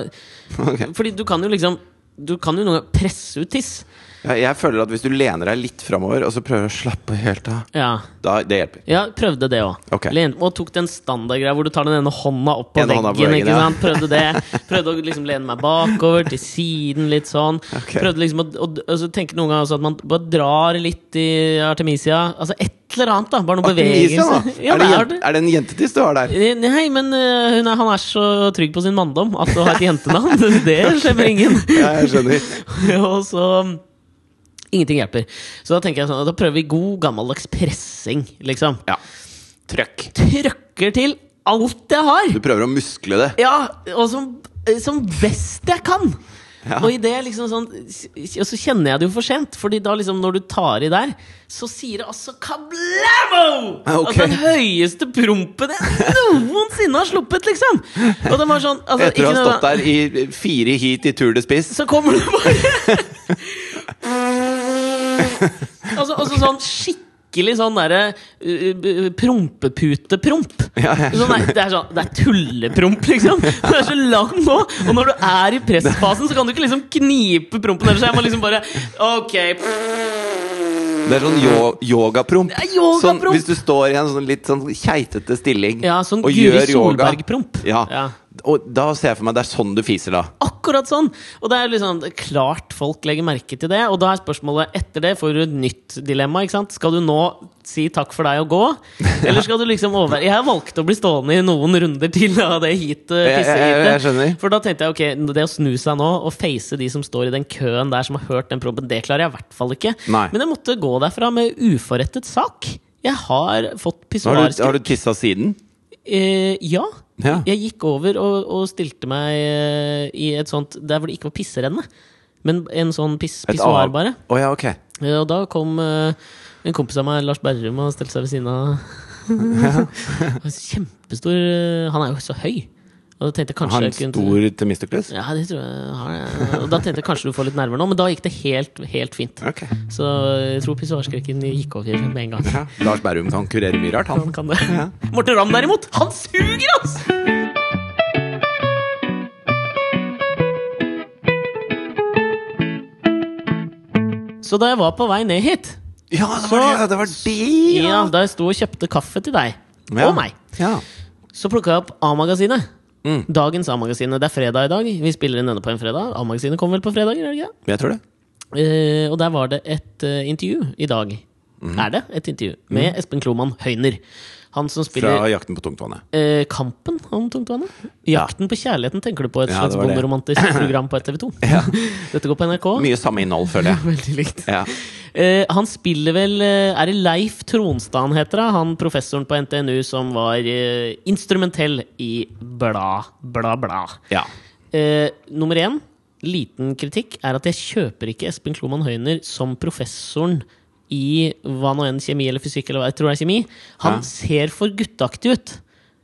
S2: ok.
S1: fordi du kan jo liksom Du kan jo noen ganger presse ut tiss.
S2: Ja, Jeg føler at hvis du lener deg litt framover, og så prøver å slappe helt av,
S1: Ja.
S2: da det hjelper.
S1: Jeg prøvde det òg.
S2: Ok.
S1: Og tok den standardgreia hvor du tar den ene hånda opp på
S2: Ene hånda på
S1: veggen.
S2: veggen,
S1: ikke
S2: ja.
S1: sant? Prøvde det. Prøvde å liksom lene meg bakover, til siden, litt sånn.
S2: Ok.
S1: Prøvde liksom å og, og så tenker jeg noen ganger også at man bare drar litt i artemisia. Altså et eller annet, da. Bare noen
S2: Artemisia, da?
S1: bevegelse. Ja,
S2: er, det
S1: det er
S2: jen-
S1: det.
S2: er det en jentetiss du har der?
S1: Nei, men øh, hun er, han er så trygg på sin manndom at å ha et jentenavn, det skjemmer ingen.
S2: Ja, jeg skjønner.
S1: Og så um, Ingenting hjelper. Så da tenker jeg sånn, da prøver vi god gammeldags pressing, liksom.
S2: Ja. Trøkk.
S1: Trøkker til alt jeg har!
S2: Du prøver å muskle det.
S1: Ja, og som, som best jeg kan!
S2: Ja.
S1: Og i det liksom sånn Og så kjenner jeg det jo for sent, Fordi da liksom når du tar i der, så sier det altså kablamo!
S2: Ok.
S1: Altså den høyeste prompen jeg noensinne har sluppet, liksom! Og den var sånn altså,
S2: Etter å
S1: ikke
S2: ha
S1: noe-
S2: stått der i fire heat i Tour de Spiss.
S1: så kommer du bare Altså, altså sånn skikkelig sånn derre uh, uh, prompeputepromp.
S2: Ja, jeg
S1: Sånn der- det er sånn Det er tullepromp, liksom. Den er så lang nå, og når du er i pressfasen, så kan du ikke liksom knipe prompen ellers. Jeg må liksom bare Ok.
S2: Det er sånn yo yogapromp.
S1: Det er yogapromp.
S2: Sånn, hvis du står i en sånn litt sånn keitete stilling
S1: Ja, sånn
S2: og
S1: Guri
S2: gjør yoga.
S1: Solberg-promp.
S2: Ja.
S1: Ja.
S2: Og da ser jeg for meg det er sånn du fiser da.
S1: Akkurat sånn! Og det er liksom det er klart folk legger merke til det. Og da er spørsmålet etter det får du et nytt dilemma. ikke sant? Skal du nå si takk for deg og gå? Eller skal du liksom over Jeg valgte å bli stående i noen runder til av det heatet.
S2: jeg- jeg skjønner.
S1: pisseheatet. For da tenkte jeg ok, det å snu seg nå og face de som står i den køen der som har hørt den prompen, det klarer jeg i hvert fall ikke.
S2: Nei.
S1: Men jeg måtte gå derfra med uforrettet sak. Jeg har fått
S2: Har du,
S1: pissoarskrekk.
S2: har du tissa siden?
S1: Eh, ja.
S2: Ja.
S1: Jeg gikk over og, og stilte meg eh, i et sånt Der hvor det ikke var pisserenne, men en sånn piss,
S2: Et
S1: pissoar,
S2: annet-
S1: bare.
S2: Å ja, ok.
S1: Eh, og da kom eh, en kompis av meg, Lars Berrum, og stilte seg ved siden av Han er Kjempestor eh, Han er jo så høy. Og da tenkte jeg kanskje
S2: Han
S1: jeg kunne-
S2: stor Themistocles?
S1: Ja, det tror jeg han er. Og da tenkte jeg kanskje du får litt nerver nå, men da gikk det helt, helt fint.
S2: Ok.
S1: Så eh, jeg tror pissoarskrekken gikk over med en gang.
S2: Ja. Lars Berrum kan kurere mye rart, han.
S1: Han kan det. Morten Ramm derimot, han suger, ass! Så da jeg var på vei ned hit,
S2: Ja, det var det! Det var det
S1: ja. da jeg sto og kjøpte kaffe til deg
S2: Ja.
S1: og meg,
S2: Ja.
S1: så plukka jeg opp A-magasinet.
S2: Mm.
S1: Dagens A-magasinet. Det er fredag i dag. Vi spiller inn denne på en fredag. A-magasinet kommer vel på fredager? er det ikke det?
S2: Jeg tror det.
S1: Eh, og der
S2: Mm.
S1: var det et eh, intervju i dag. Er det et intervju med Espen Kloman Høyner. Han som spiller
S2: Fra 'Jakten på tungtvannet'.
S1: eh, Kampen om tungtvannet?
S2: Ja.
S1: 'Jakten på kjærligheten' tenker du på? Et
S2: Ja,
S1: slags
S2: det var det.
S1: bonderomantisk program på TV 2? Dette går på NRK.
S2: Mye samme innhold, føler jeg.
S1: Veldig likt.
S2: Ja.
S1: Eh, han spiller vel eh, Er det Leif Tronstad han heter? da? Han professoren på NTNU som var eh, instrumentell i bla, bla, bla.
S2: ja.
S1: Eh, nummer én, liten kritikk, er at jeg kjøper ikke Espen Kloman Høyner som professoren i hva nå enn kjemi eller fysikk eller hva jeg tror det er kjemi. Han
S2: Ja.
S1: ser for gutteaktig ut.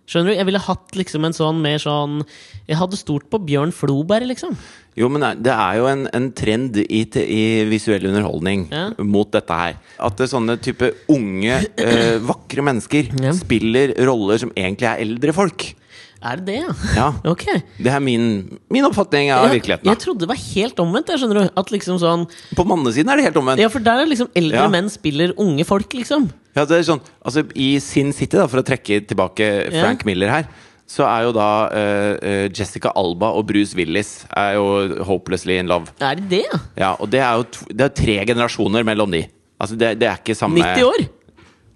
S1: Skjønner du? Jeg ville hatt liksom en sånn mer sånn Jeg hadde stort på Bjørn Floberg, liksom.
S2: Jo, men det er jo en, en trend i, te- i visuell underholdning
S1: Ja.
S2: mot dette her. At det er sånne type unge, eh, vakre mennesker
S1: Ja.
S2: spiller roller som egentlig er eldre folk.
S1: Er det det, ja?
S2: Ja.
S1: Ok.
S2: Det er min, min oppfatning av
S1: Ja,
S2: virkeligheten.
S1: Jeg trodde det var helt omvendt. Jeg skjønner du At liksom sånn
S2: da. På mannesiden er det helt omvendt.
S1: Ja, for der er liksom eldre
S2: Ja.
S1: menn spiller unge folk, liksom.
S2: Ja, det er sånn, altså I Sin City, da, for å trekke tilbake Frank Miller her, så er jo da eh, eh, Jessica Alba og Bruce Willis er jo hopelessly in love.
S1: Er det det, ja?
S2: Ja, og Det er jo to, det er tre generasjoner mellom de. Altså Det, det er ikke samme
S1: 90 år?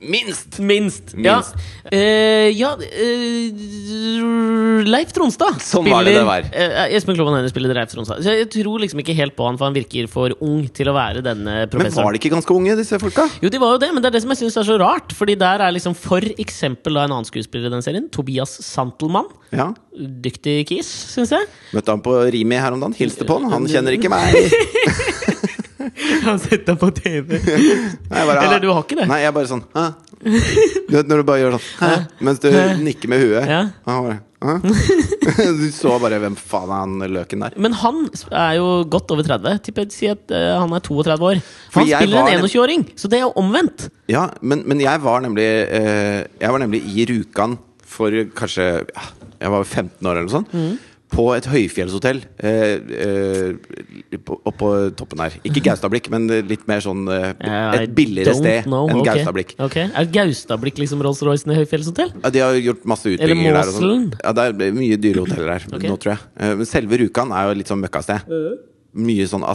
S2: Minst!
S1: Minst.
S2: Minst.
S1: Ja, Eh, ja eh, Leif Tronstad
S2: Sånn var det det var.
S1: Eh, Espen Kloven Hennie spiller Leif Tronstad. Så jeg tror liksom ikke helt på han, for han virker for ung til å være denne
S2: Men
S1: professoren.
S2: var de ikke ganske unge, disse folka?
S1: Jo, de var jo det, men det er det som jeg syns er så rart. Fordi der er liksom for eksempel da en annen skuespiller i den serien, Tobias Santelmann.
S2: Ja.
S1: Dyktig kis, syns jeg.
S2: Møtte han på Rimi her om dagen. Hilste på han. Han kjenner ikke meg. Nei,
S1: Han sitter på TV.
S2: jeg bare,
S1: Eller du har ikke det?
S2: Nei, jeg bare sånn Hæ? Du vet når du bare gjør sånn Hæ? Mens du nikker med huet.
S1: Ja.
S2: Han bare, Hæ? Du så bare hvem faen er han løken der?
S1: Men han er jo godt over 30. Tipper jeg si at eh, han er 32 år.
S2: Fordi
S1: Han
S2: jeg
S1: spiller
S2: var
S1: en
S2: nem-
S1: 21-åring, så det er jo omvendt.
S2: Ja, men, men jeg var nemlig eh, Jeg var nemlig i Rjukan for kanskje ja, Jeg var 15 år eller noe sånt. På et høyfjellshotell eh, eh, på- oppå toppen her. Ikke Gaustablikk, men litt mer sånn eh,
S1: I
S2: Et billigere
S1: don't
S2: sted
S1: know.
S2: enn
S1: Ok.
S2: Gaustablikk.
S1: Ok. Er Gaustablikk liksom Rolls-Roycen i Høyfjellshotell?
S2: Ja, de har gjort masse utbygginger der. og sånn.
S1: Moselen?
S2: Ja, det er mye dyre hoteller her
S1: Ok. Eh.
S2: nå, tror jeg. Eh, Men selve Rjukan er jo litt sånn møkkasted. Mye sånn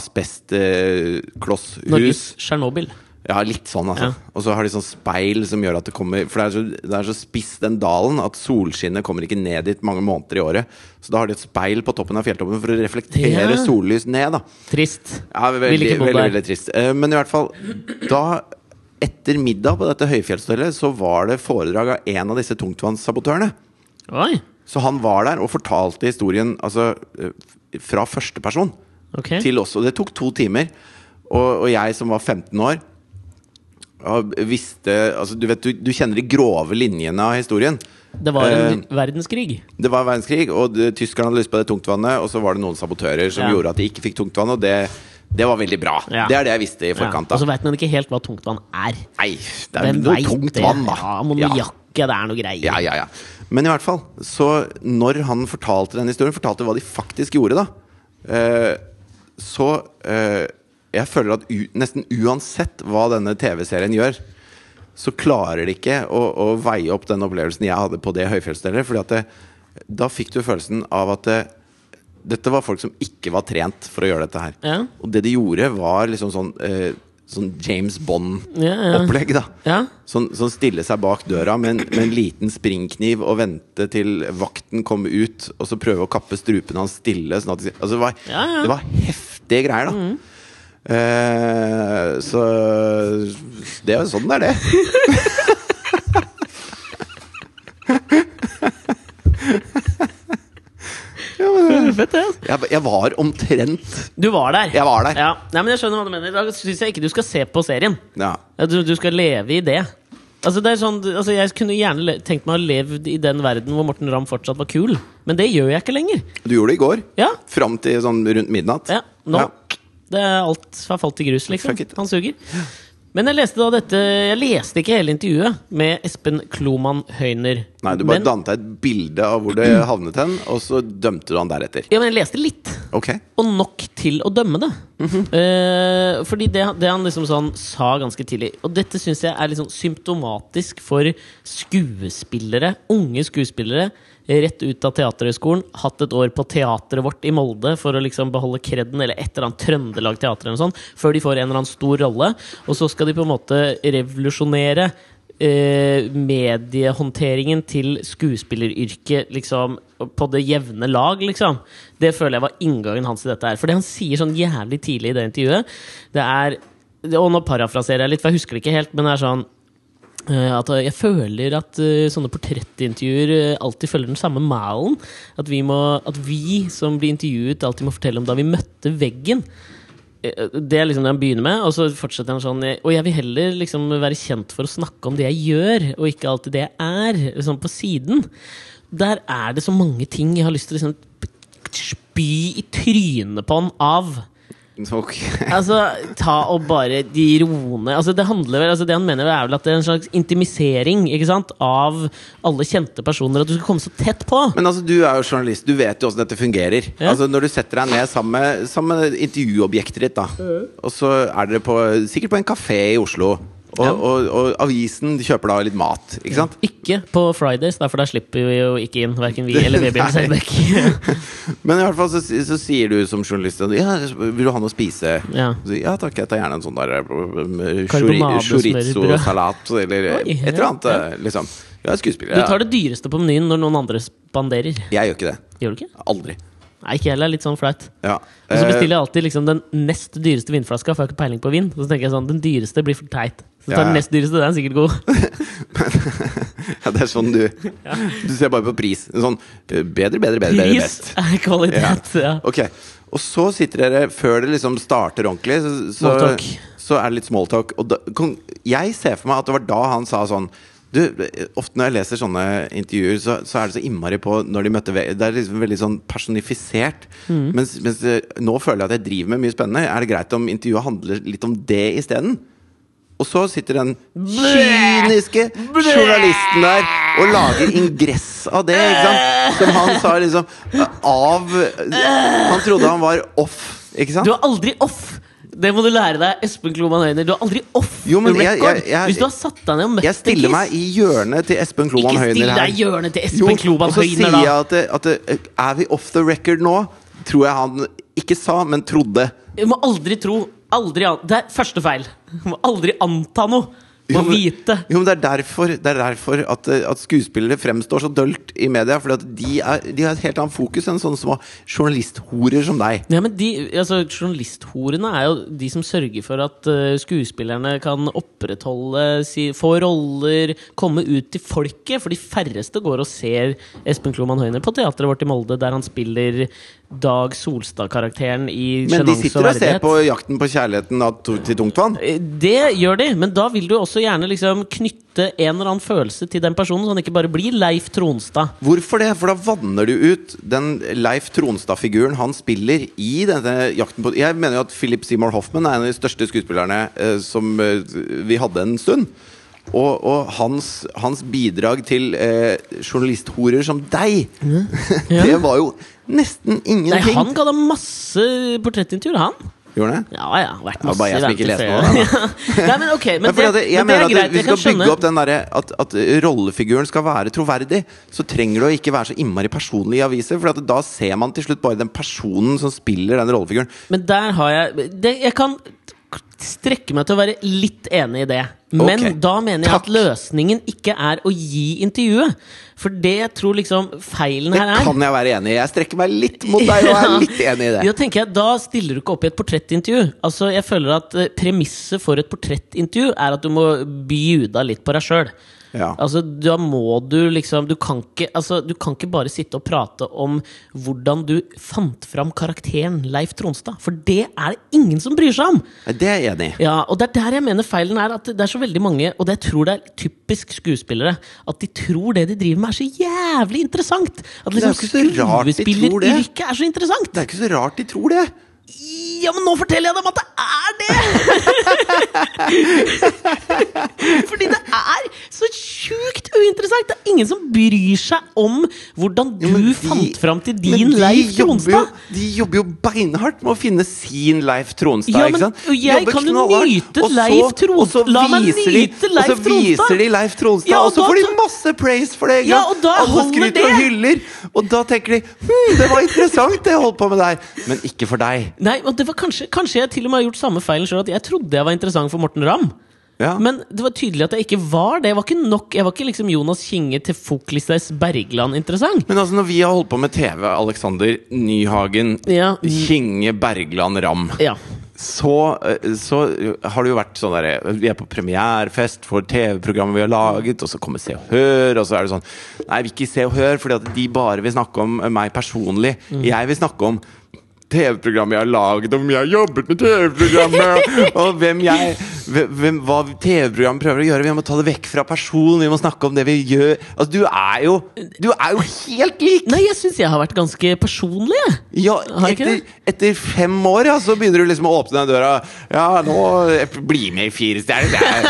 S2: asbestklosshus.
S1: Norges Tsjernobyl.
S2: Ja, litt sånn, altså. Og så har de sånn speil som gjør at det kommer For det er så, det er så spiss, den dalen, at solskinnet kommer ikke ned dit mange måneder i året. Så da har de et speil på toppen av fjelltoppen for å reflektere
S1: Ja.
S2: sollys ned, da.
S1: Trist.
S2: Ja, veldig,
S1: Ville
S2: veldig,
S1: ikke bodd
S2: veldig,
S1: der.
S2: trist. Eh, Men i hvert fall, da etter middag på dette høyfjellshotellet, så var det foredrag av en av disse tungtvannssabotørene.
S1: Oi.
S2: Så han var der og fortalte historien altså, eh, fra første person
S1: Ok.
S2: til oss. Og det tok to timer. Og, og jeg som var 15 år ja, visste altså, du, vet, du, du kjenner de grove linjene av historien.
S1: Det var
S2: eh,
S1: en verdenskrig.
S2: Det var verdenskrig, og det, tyskerne hadde lyst på det tungtvannet. Og så var det noen sabotører som
S1: Ja.
S2: gjorde at de ikke fikk tungtvann, og det, det var veldig bra.
S1: Ja.
S2: Det er det jeg visste i
S1: Ja.
S2: forkant.
S1: Og så
S2: da
S1: veit man ikke helt hva tungtvann er.
S2: Nei, det er noe
S1: vet
S2: tungt
S1: det?
S2: vann, da.
S1: Ja, Ammoniakke, det er noe greier.
S2: Ja, ja, ja. Men i hvert fall, så når han fortalte den historien, fortalte hva de faktisk gjorde, da, eh, så eh, Jeg føler at u nesten uansett hva denne TV-serien gjør, så klarer de ikke å, å veie opp den opplevelsen jeg hadde på det høyfjellsstedet. Fordi at det, da fikk du følelsen av at det, dette var folk som ikke var trent for å gjøre dette her.
S1: Ja.
S2: Og det de gjorde, var liksom sånn, eh, sånn James
S1: Ja, ja.
S2: Bond-opplegg, da.
S1: Ja.
S2: Sånn, sånn stille seg bak døra med en, med en liten springkniv og vente til vakten kom ut, og så prøve å kappe strupen hans stille. Sånn at, altså det, var,
S1: Ja, ja. Mm.
S2: det var heftige greier, da. Eh, så det er jo sånn det er, det.
S1: Fett, det. altså.
S2: Jeg, jeg var omtrent
S1: Du var der.
S2: Jeg var der.
S1: Ja. Nei, men jeg skjønner hva du mener. Da syns jeg ikke du skal se på serien.
S2: Ja.
S1: Ja, du, du skal leve i det. Altså, det er sånn, altså, jeg kunne gjerne le- tenkt meg å leve i den verden hvor Morten Ramm fortsatt var kul, men det gjør jeg ikke lenger.
S2: Du gjorde det i går.
S1: Ja,
S2: Fram til sånn rundt midnatt.
S1: ja nå.
S2: Ja.
S1: Det er alt har falt i grus, liksom.
S2: Fuck it.
S1: Han suger. Men jeg leste da dette Jeg leste ikke hele intervjuet med Espen Kloman Høyner.
S2: Nei, du bare
S1: men,
S2: danta et bilde av hvor det havnet hen, og så dømte du han deretter.
S1: ja, men jeg leste litt.
S2: Ok.
S1: og nok til å dømme det. Eh, fordi det, det han liksom sånn sa ganske tidlig Og dette syns jeg er litt sånn symptomatisk for skuespillere, unge skuespillere, rett ut av Teaterhøgskolen, hatt et år på teateret vårt i Molde for å liksom beholde kredden, eller et eller annet Trøndelag Teater eller noe sånt, før de får en eller annen stor rolle, og så skal de på en måte revolusjonere eh, mediehåndteringen til skuespilleryrket liksom, på det jevne lag, liksom. Det føler jeg var inngangen hans til dette her. For det han sier sånn jævlig tidlig i det intervjuet, det er det- Og nå parafraserer jeg litt, for jeg husker det ikke helt, men det er sånn eh, at jeg føler at eh, sånne portrettintervjuer eh, alltid følger den samme malen. At vi, må, at vi som blir intervjuet, alltid må fortelle om da vi møtte veggen. Eh, Det er liksom det han begynner med, og så fortsetter han sånn Og jeg vil heller liksom være kjent for å snakke om det jeg gjør, og ikke alltid det jeg er, sånn på siden. Der er det så mange ting jeg har lyst til å liksom spy i trynet på han av.
S2: Ok.
S1: Altså, ta og bare de roende altså, Det handler vel, altså, det han mener er vel at det er en slags intimisering ikke sant? av alle kjente personer. At du skal komme så tett på.
S2: Men altså, du er jo journalist, du vet jo åssen dette fungerer.
S1: Ja.
S2: Altså, når du setter deg ned sammen med, sammen med intervjuobjektet ditt, da, og så er dere på, sikkert på en kafé i Oslo, og,
S1: Ja.
S2: og, og avisen kjøper da litt mat, ikke sant?
S1: Ikke på Fridays, da, for da slipper vi jo ikke inn verken vi eller Vebjørn
S2: Nei.
S1: Selbekk.
S2: Men i hvert fall så, så sier du som journalist ja, 'Vil du ha noe å spise?'
S1: Ja.
S2: Så, ja takk, jeg tar gjerne en sånn der eh, chori-
S1: Karbonadesmørbrød.
S2: chorizo-salat eller eh,
S1: Oi,
S2: et eller annet. eh, Liksom. Jeg er skuespiller.
S1: Du tar det dyreste på menyen når noen andre spanderer.
S2: Jeg gjør ikke det.
S1: Gjør du ikke?
S2: Aldri.
S1: Nei, ikke heller. Litt sånn flaut.
S2: Ja.
S1: Og så
S2: Eh,
S1: bestiller jeg alltid liksom den nest dyreste vinflaska, for jeg har ikke peiling på vin. Så tenker jeg sånn, den dyreste blir for teit. Så tar
S2: Ja, ja.
S1: den nest dyreste, den er sikkert god.
S2: ja, det er sånn du Du ser bare på pris. Sånn eh, bedre, bedre, bedre, bedre
S1: Pris
S2: best.
S1: er kvalitet. Ja.
S2: Ok. Og så sitter dere, før det liksom starter ordentlig, så, så,
S1: Smalltalk.
S2: så er det litt smalltalk. Og da, kan, jeg ser for meg at det var da han sa sånn du, Ofte når jeg leser sånne intervjuer, så, så er det så innmari på når de møtte ve- Det er liksom veldig sånn personifisert. Mens, mens eh, nå føler jeg at jeg driver med mye spennende. Er det greit om intervjuet handler litt om det isteden? Og så sitter den kyniske journalisten der og lager ingress av det, ikke sant? Som han sa liksom Av Han trodde han var off, ikke sant?
S1: Du er aldri off! Det må du lære deg, Espen Kloman Høyner. Du er aldri off
S2: Jo, men
S1: the
S2: jeg-
S1: record.
S2: jeg- jeg-
S1: Hvis du har satt deg ned og møtt
S2: Jeg stiller
S1: en
S2: meg
S1: kiss,
S2: i hjørnet til Espen Kloman
S1: Ikke still
S2: Høyner
S1: deg i
S2: her.
S1: hjørnet til
S2: Jo,
S1: Espen
S2: og
S1: Kloman
S2: så sier
S1: Høyner,
S2: jeg
S1: da!
S2: at, det, at det, Er vi off the record nå? Tror jeg han ikke sa, men trodde.
S1: Du må aldri tro. Aldri an det er første feil. Du må aldri anta noe. Du
S2: Jo,
S1: må
S2: men-
S1: vite.
S2: Jo, men Det er derfor, det er derfor at, eh, at skuespillere fremstår så dølt i media. Fordi at de, er, de har et helt annet fokus enn sånne små journalisthorer som deg.
S1: Ja, men de, altså, Journalisthorene er jo de som sørger for at eh, skuespillerne kan opprettholde si, Få roller, komme ut til folket. For de færreste går og ser Espen Kloman Høyner på teatret vårt i Molde, der han spiller Dag Solstad-karakteren i
S2: Men
S1: sjenanse
S2: de
S1: og
S2: sitter og ser
S1: verdighet.
S2: på 'Jakten på kjærligheten' av to, til tungtvann.
S1: Eh, Det gjør de, men da vil du også gjerne liksom knytte en eller annen følelse til den personen, så han ikke bare blir Leif Tronstad.
S2: Hvorfor det? For da vanner du ut den Leif Tronstad-figuren han spiller i denne 'Jakten på Jeg mener jo at Philip Seymour Hoffman er en av de største skuespillerne eh, som eh, vi hadde en stund. Og, og hans, hans bidrag til eh, journalisthorer som deg, det var jo nesten
S1: Nei,
S2: ingenting.
S1: han ga da masse portrettintervjuer, han.
S2: Gjorde han det?
S1: Ja, ja. Vært
S2: var
S1: masse
S2: bare jeg som ikke
S1: eventer
S2: leste
S1: før. Nei, men ok, men det,
S2: Men fordi at
S1: men det
S2: jeg mener
S1: er
S2: at
S1: greit. Jeg
S2: Hvis du
S1: kan
S2: skal
S1: skjønne.
S2: bygge opp den derre at, at rollefiguren skal være troverdig, så trenger du å ikke være så innmari personlig i aviser. For at da ser man til slutt bare den personen som spiller den rollefiguren.
S1: Men der har jeg det, Jeg kan strekke meg til å være litt enig i det. Men
S2: Ok.
S1: da mener jeg
S2: Takk.
S1: at løsningen ikke er å gi intervjuet. For det jeg tror liksom feilen
S2: Det
S1: her er
S2: kan jeg være enig i. Jeg strekker meg litt mot deg og er litt enig i det.
S1: Ja, tenker jeg, Da stiller du ikke opp i et portrettintervju. Altså, jeg føler at eh, Premisset for et portrettintervju er at du må bjuda litt på deg sjøl.
S2: Ja.
S1: Altså, da må du liksom du kan, ikke, altså, du kan ikke bare sitte og prate om hvordan du fant fram karakteren Leif Tronstad. For det er det ingen som bryr seg om!
S2: Det er jeg enig i.
S1: Ja, og det er der jeg mener feilen er at det er så veldig mange, og det jeg tror det er typisk skuespillere, at de tror det de driver med er så jævlig interessant! At
S2: det er
S1: liksom
S2: jo ikke så rart de tror det.
S1: skuespilleryrket er så interessant!
S2: Det er ikke så rart de tror det.
S1: Ja, men nå forteller jeg dem at det er det! Fordi det er så sjukt uinteressant! Det er ingen som bryr seg om hvordan du
S2: Jo, men de-
S1: fant fram til
S2: men
S1: din
S2: de
S1: Leif
S2: jobber jo-
S1: Tronstad!
S2: De jobber jo beinhardt med å finne sin Leif Tronstad.
S1: Ja,
S2: ikke
S1: men-
S2: sant?
S1: og jeg
S2: Jobber
S1: kan jo
S2: knallhardt,
S1: nyte
S2: og så-
S1: Leif Tron-
S2: og så
S1: La meg
S2: viser
S1: nyte
S2: de,
S1: Leif
S2: Og så viser
S1: Tronstad.
S2: de Leif Tronstad,
S1: Ja, og
S2: og så
S1: da
S2: får de
S1: så-
S2: masse praise for det. Ikke
S1: Ja,
S2: sant?
S1: og da
S2: Alle
S1: holder
S2: skryter og
S1: det.
S2: hyller. Og da tenker de hm, det var interessant, det jeg holdt på med der. Men ikke for deg.
S1: Nei, og det var kanskje, kanskje jeg til og med har gjort samme feilen sjøl, at jeg trodde jeg var interessant for Morten Ramm.
S2: Ja.
S1: Men det var tydelig at jeg ikke var det. Jeg var ikke nok Jeg var ikke liksom Jonas Kinge til Foklisteis Bergland interessant.
S2: Men altså, når vi har holdt på med TV, Alexander Nyhagen,
S1: Ja.
S2: Kinge, Bergland, Ram,
S1: Ja.
S2: så, eh, så har det jo vært sånn derre Vi er på premierefest for TV-programmet vi har laget, og så kommer Se og Hør, og så er det sånn Nei, vi vil ikke Se og Hør, fordi at de bare vil snakke om eh, meg personlig. Jeg vil snakke om TV-programmet jeg har laget, om jeg har jobbet med TV-programmet, og hvem jeg hvem, hvem- Hva TV-programmet prøver å gjøre. Vi må ta det vekk fra personen, vi må snakke om det vi gjør. Altså, du er jo Du er jo helt lik!
S1: Nei, jeg syns jeg har vært ganske personlig. jeg.
S2: Ja,
S1: Har jeg ikke
S2: etter, etter fem år, ja, så begynner du liksom å åpne den døra. Ja, nå eh, Bli med i Fire stjerner. det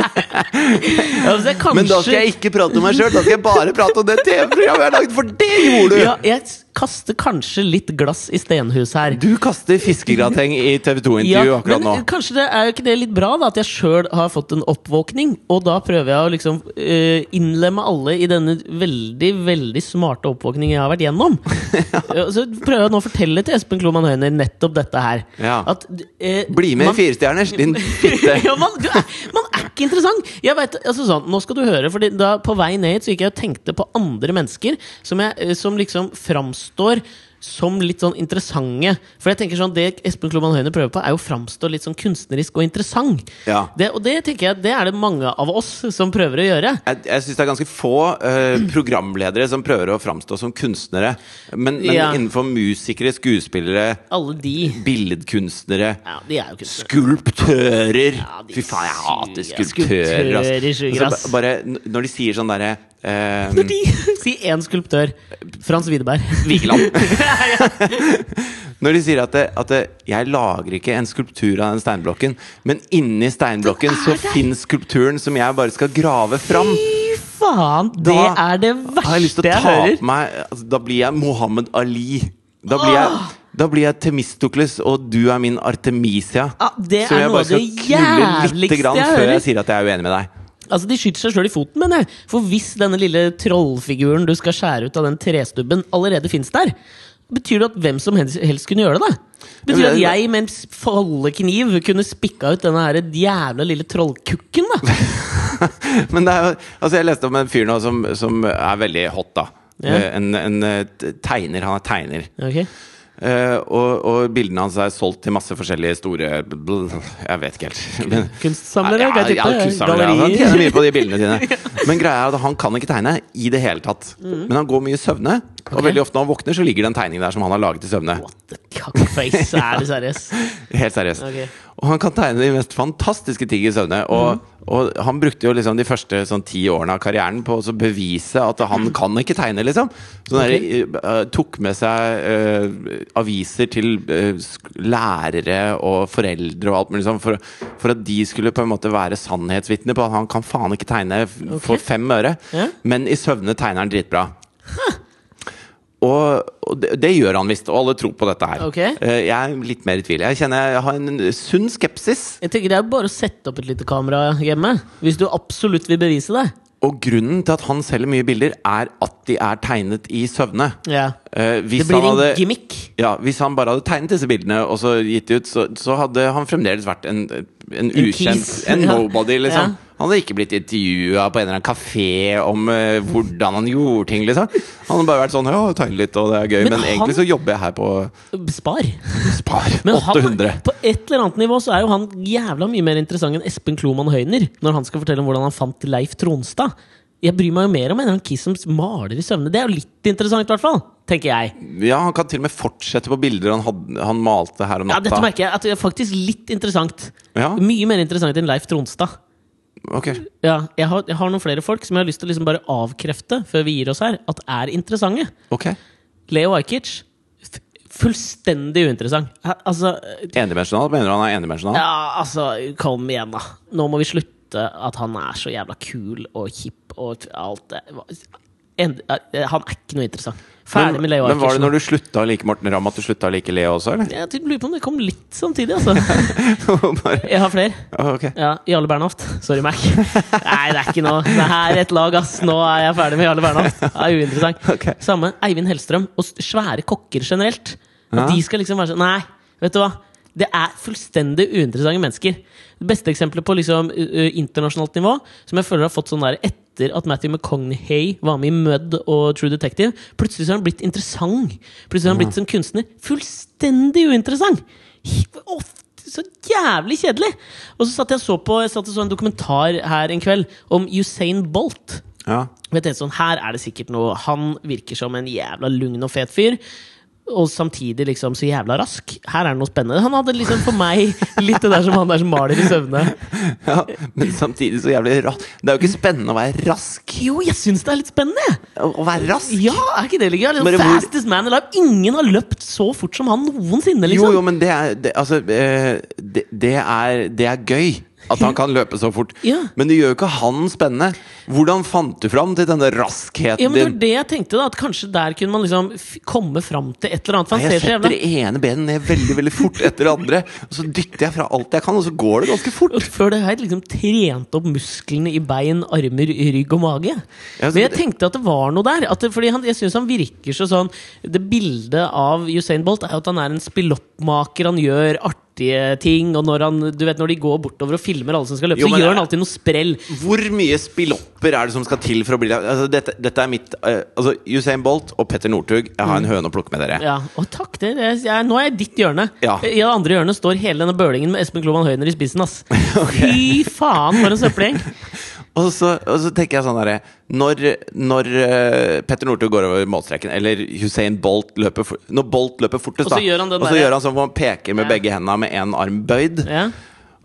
S2: er-
S1: Ja, altså, jeg
S2: Men da
S1: kanskje-
S2: skal jeg ikke prate om meg sjøl, da skal jeg bare prate om det TV-programmet jeg har laget, for det gjorde du!
S1: ja, Jeg s- kaster kanskje litt glass i stenhus her.
S2: Du kaster fiskegrateng i TV 2-intervju
S1: Ja,
S2: akkurat nå.
S1: Men kanskje det er jo ikke det litt bra, da, at jeg sjøl har fått en oppvåkning. Og da prøver jeg å liksom eh, innlemme alle i denne veldig veldig smarte oppvåkningen jeg har vært gjennom. Ja, Så prøver jeg nå å fortelle til Espen Kloman Høyner nettopp dette her.
S2: Ja.
S1: At, eh,
S2: Bli med
S1: man-
S2: i Fire stjerner, din fitte.
S1: ja, man, du, er- man er ikke interessant! Jeg vet, altså sånn, Nå skal du høre, Fordi da på vei ned hit så gikk jeg og tenkte på andre mennesker som, jeg, eh, som liksom framstår som litt sånn interessante. For jeg tenker sånn, Det Espen Kloman Høyne prøver på, er jo å framstå litt sånn kunstnerisk og interessant.
S2: Ja.
S1: Det, og det tenker jeg, det er det mange av oss som prøver å gjøre.
S2: Jeg, jeg syns det er ganske få eh, programledere som prøver å framstå som kunstnere. Men, men
S1: Ja.
S2: innenfor musikere, skuespillere,
S1: Alle de.
S2: billedkunstnere
S1: Ja, de er jo kunstnere.
S2: Skulptører!
S1: de
S2: Fy faen, jeg hater
S1: suger.
S2: skulptører. ass.
S1: Skulptører suger,
S2: Altså,
S1: ass.
S2: ba- bare n- når de sier sånn derre eh,
S1: Når de, si én skulptør. Frans Widerberg.
S2: Vigeland. Når de sier at, det, at det, 'jeg lager ikke en skulptur av den steinblokken', men inni steinblokken
S1: Den er
S2: så
S1: der.
S2: fins skulpturen som jeg bare skal grave fram.
S1: Fy faen! Det
S2: Da
S1: er det
S2: Har jeg lyst
S1: verste
S2: til å
S1: jeg
S2: ta
S1: hører.
S2: på meg altså, Da blir jeg Mohammed Ali. Da blir jeg, da blir jeg Temistokles, og du er min Artemisia.
S1: Ja, Ah, det
S2: som
S1: er
S2: jeg
S1: noe
S2: bare
S1: av
S2: skal
S1: det
S2: knulle lite
S1: jævligste
S2: grann
S1: jeg
S2: før
S1: hører.
S2: jeg sier at jeg er uenig med deg.
S1: Altså, De skyter seg sjøl i foten, mener jeg. For hvis denne lille trollfiguren du skal skjære ut av den trestubben, allerede fins der, betyr det at hvm som helst helst kunne gjøre det? da? Betyr det
S2: Ja, men
S1: at
S2: det-
S1: jeg med en s- foldekniv kunne spikka ut denne her jævla lille trollkukken? da?
S2: Men det er jo Altså, jeg leste om en fyr nå som, som er veldig hot, da.
S1: Ja.
S2: Eh, En, en eh, t- tegner. Han er tegner.
S1: Ok.
S2: Eh, og, og bildene hans er solgt til masse forskjellige store Jeg vet ikke helt. Men-
S1: Kunstsamlere,
S2: ja,
S1: kan jeg
S2: ja,
S1: tippe.
S2: kunstsamlere.
S1: Gallerier.
S2: Han tjener mye på de bildene sine. Men greia er at han kan ikke tegne i det hele tatt. Men han går mye i søvne, og
S1: Mm. Ok.
S2: veldig ofte når han våkner, så ligger det en tegning der som han har laget i søvne.
S1: What the cuckface? Er du seriøs?
S2: Helt seriøst.
S1: Ok. Mhm.
S2: Og han kan tegne de mest fantastiske ting i søvne. Og, og han brukte jo liksom de første sånn ti årene av karrieren på å så bevise at
S1: Mhm.
S2: han kan ikke tegne, liksom. Så han eh, tok med seg eh, aviser til eh, sk- lærere og foreldre og alt mulig sånn, for, for at de skulle på en måte være sannhetsvitner på at han kan faen ikke tegne f- for fem øre,
S1: Ja.
S2: men i søvne tegner han dritbra. Og, og det, det gjør han visst, og alle tror på dette her.
S1: Ok.
S2: Eh, Jeg er litt mer i tvil. Jeg kjenner jeg har en sunn skepsis.
S1: Jeg tenker Det er bare å sette opp et lite kamera hjemme. Hvis du absolutt vil bevise det.
S2: Og grunnen til at han selger mye bilder, er at de er tegnet i søvne.
S1: Ja.
S2: Eh, hvis
S1: Det blir en
S2: han hadde,
S1: gimmick.
S2: Ja, hvis han bare hadde tegnet disse bildene og så gitt de ut, så, så hadde han fremdeles vært en, en ukjent
S1: kis.
S2: En
S1: Ja.
S2: nobody, liksom.
S1: Ja.
S2: Han hadde ikke blitt intervjua på en eller annen kafé om eh, hvordan han gjorde ting, liksom. Han hadde bare vært sånn Ja, tegne litt, og det er gøy.
S1: Men
S2: Men,
S1: han-
S2: egentlig så jobber jeg her på
S1: Spar.
S2: Spar
S1: Men
S2: 800.
S1: Han, på et eller annet nivå så er jo han jævla mye mer interessant enn Espen Kloman Høyner når han skal fortelle om hvordan han fant Leif Tronstad. Jeg bryr meg jo mer om en eller annen kiss som maler i søvne. Det er jo litt interessant, i hvert fall. Tenker jeg.
S2: Ja, han kan til og med fortsette på bilder han, hadde, han malte her om
S1: Ja,
S2: natta.
S1: dette merker jeg at det er faktisk litt interessant.
S2: Ja.
S1: Mye mer interessant enn Leif Tronstad.
S2: Ok.
S1: Ja, jeg har, jeg har noen flere folk som jeg har lyst til å liksom bare avkrefte før vi gir oss her, at er interessante.
S2: ok
S1: Leo Ajkic. f- Fullstendig uinteressant. Ha- Altså,
S2: Endimensjonal? Mener du han er endimensjonal?
S1: Ja, altså, kom igjen, da. Nå må vi slutte at han er så jævla kul og kjip og t- alt det. Hva- En, eh, han er ikke noe interessant. Ferdig med Leo
S2: men var det når du slutta å like Morten Ramm, at du slutta å like Leo også, eller?
S1: Jeg typ lurer på om det kom litt samtidig, altså.
S2: Bare,
S1: Jeg har flere.
S2: ok.
S1: Ja, Jarle Bernhoft. Sorry, Mac. Nei, det er ikke noe. Det her er et lag, ass. Nå er jeg ferdig med Jarle Bernhoft. Det er uinteressant.
S2: Ok.
S1: Samme Eivind Hellstrøm og s- svære kokker generelt. At
S2: Ja.
S1: de skal liksom være sånn Nei, vet du hva. Det er fullstendig uinteressante mennesker. Det beste eksempelet på liksom, ø, ø, internasjonalt nivå, som jeg føler har fått sånn der etter at Matthew McConaughey var med i Mud og True Detective, plutselig så har han blitt interessant. Plutselig har han blitt som kunstner. Fullstendig uinteressant! Hi- Ofte så jævlig kjedelig! Og så satt jeg og så på Jeg satt og så en dokumentar her en kveld om Usain Bolt.
S2: Ja.
S1: Men jeg tenkte sånn, her er det sikkert noe Han virker som en jævla lugn og fet fyr. Og samtidig liksom så jævla rask. Her er det noe spennende. Han hadde liksom for meg litt det der som han der som maler i søvne.
S2: ja. Men samtidig så jævlig rask. Det er jo ikke spennende å være rask.
S1: Jo, jeg syns det er litt spennende!
S2: Å å være rask?
S1: Ja, er ikke det litt gøy?
S2: Bare
S1: Liksom,
S2: hvor-
S1: fastest man alive. Ingen har løpt så fort som han noensinne,
S2: Jo,
S1: liksom.
S2: jo, men det er det, Altså, eh, det, det, er, det er gøy at han kan løpe så fort.
S1: Ja.
S2: Men det gjør jo ikke han spennende. Hvordan fant du fram til denne raskheten
S1: Ja, men det var
S2: din?
S1: det jeg tenkte, da. At kanskje der kunne man liksom f komme fram til et eller annet. For
S2: Nei,
S1: han
S2: Jeg
S1: ser så
S2: setter
S1: jævla
S2: det ene benet ned veldig veldig fort etter det andre, og så dytter jeg fra alt jeg kan, og så går det ganske fort.
S1: Og Før det har jeg liksom trent opp musklene i bein, armer, rygg og mage.
S2: så
S1: Men jeg
S2: altså det-
S1: tenkte at det var noe der. At det, fordi han, jeg synes han virker så sånn Det bildet av Usain Bolt er jo at han er en spilloppmaker. Han gjør artige ting. Og når, han, du vet, når de går bortover og filmer alle som skal løpe,
S2: Jo,
S1: så
S2: men
S1: gjør
S2: det-
S1: han alltid noe sprell.
S2: Hvor mye spillopper er det som skal til for å bli altså, dette, dette er mitt eh, Altså, Usain Bolt og Petter Northug, jeg har en høne å plukke med dere.
S1: Mm. Ja, og takk det, det er- jeg, Nå er jeg i ditt hjørne.
S2: Ja.
S1: I det andre hjørnet står hele denne bølingen med Espen Klovan Høyner i spissen. ass Fy faen, for en søppelgjeng!
S2: Og så, og så tenker jeg sånn derre Når, når eh, Petter Northug går over målstreken, eller Hussein Bolt løper for, Når Bolt løper fortest,
S1: Og så
S2: da,
S1: gjør han den
S2: og så
S1: derre-
S2: gjør han sånn hvor han peker med
S1: Ja.
S2: begge hendene med én arm bøyd.
S1: Ja.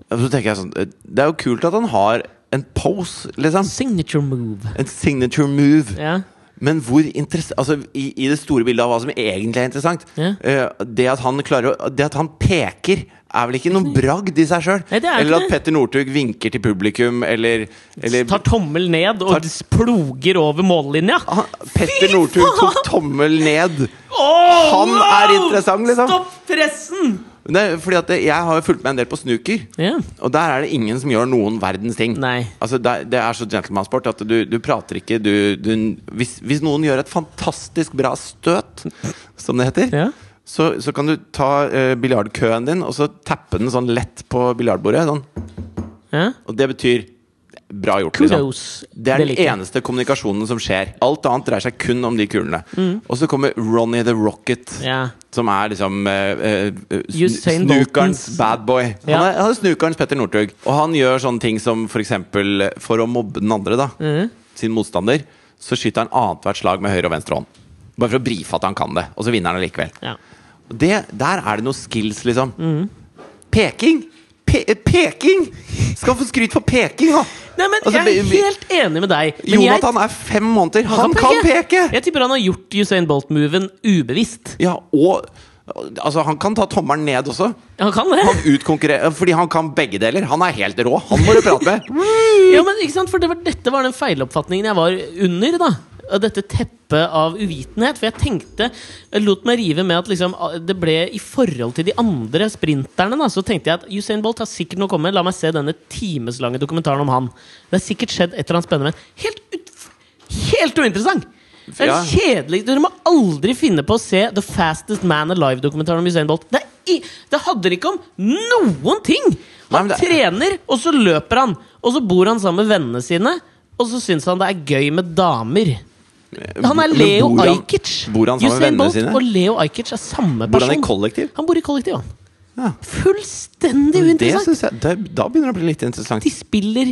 S2: Og Så tenker jeg sånn eh, Det er jo kult at han har en pose, liksom.
S1: Signature move.
S2: En signature move.
S1: Ja.
S2: Men hvor interessant altså, i, I det store bildet av hva som egentlig er interessant
S1: Ja.
S2: eh, det, at han klarer å, det at han peker, er vel ikke noen bragd i seg sjøl?
S1: Nei, det er
S2: Eller
S1: ikke
S2: at
S1: det.
S2: Petter Northug vinker til publikum, eller, eller
S1: tar tommel ned og ploger over mållinja.
S2: Han, Ah, Petter Northug tok
S1: faen!
S2: tommel ned.
S1: Åh,
S2: Han er interessant, liksom.
S1: Stopp pressen!
S2: Det, er fordi at det- jeg har jo fulgt med en del på snooker.
S1: Ja.
S2: Og der er det ingen som gjør noen verdens ting.
S1: Nei.
S2: Altså, det, det er så gentlemansport at du, du prater ikke du, du, hvis, hvis noen gjør et fantastisk bra støt, som det heter,
S1: Ja.
S2: så, så kan du ta eh, biljardkøen din og så tappe den sånn lett på biljardbordet. Sånn.
S1: Ja.
S2: Og det betyr bra gjort. liksom.
S1: Kudos.
S2: Det er den
S1: liker jeg.
S2: eneste kommunikasjonen som skjer. Alt annet dreier seg kun om de kulene. Og så kommer Ronny the Rocket,
S1: Ja.
S2: som er liksom eh, eh, sn-
S1: Usain
S2: snukerens
S1: Boltons-
S2: bad boy. Han,
S1: Ja.
S2: er, han er snukerens Petter Northug. Og han gjør sånne ting som for eksempel eh, for å mobbe den andre, da,
S1: Mhm.
S2: sin motstander, så skyter han annethvert slag med høyre og venstre hånd. Bare for å brife at han kan det. Og så vinner han allikevel.
S1: Ja.
S2: Og Det, der er det noe skills, liksom. Peking! Pe peking! Skal få skryt for peking, da!
S1: Nei, men
S2: Altså,
S1: Jeg
S2: vi-
S1: er
S2: vi-
S1: helt enig med deg. Men jeg-
S2: Jonathan er fem måneder. Han kan peke!
S1: Jeg tipper han har gjort Usain Bolt-moven ubevisst.
S2: Ja, og Altså, han kan ta tommelen ned også.
S1: Han kan det.
S2: Han utkonkurrerer Fordi han kan begge deler. Han er helt rå. Han må du prate med.
S1: Ja, men ikke sant? For det var, dette var den feiloppfatningen jeg var under, da. Av Dette teppet av uvitenhet. For jeg tenkte Jeg lot meg rive med at liksom, ah, det ble i forhold til de andre sprinterne. Da, så tenkte jeg at Usain Bolt har sikkert noe å komme med. La meg se denne timeslange dokumentaren om han. Det har sikkert skjedd et eller annet spennende. Men helt, ut, helt uinteressant! Det er
S2: Ja.
S1: kjedelig Dere må aldri finne på å se The Fastest Man Alive-dokumentaren om Usain Bolt. Det, er i, det handler ikke om noen ting! Han
S2: Nei, men det-
S1: trener, og så løper han. Og så bor han sammen med vennene sine, og så syns han det er gøy med damer. Han er
S2: Eh, Men
S1: Leo
S2: bor han-
S1: Ajkic.
S2: Bor han sammen
S1: Usain
S2: med vennene
S1: Bolt
S2: sine?
S1: Og Leo Ajkic er samme person.
S2: Bor han i kollektiv?
S1: Han bor i kollektiv, han.
S2: Ja.
S1: Fullstendig
S2: Det
S1: uinteressant!
S2: synes jeg, det, da begynner det å bli litt interessant.
S1: De spiller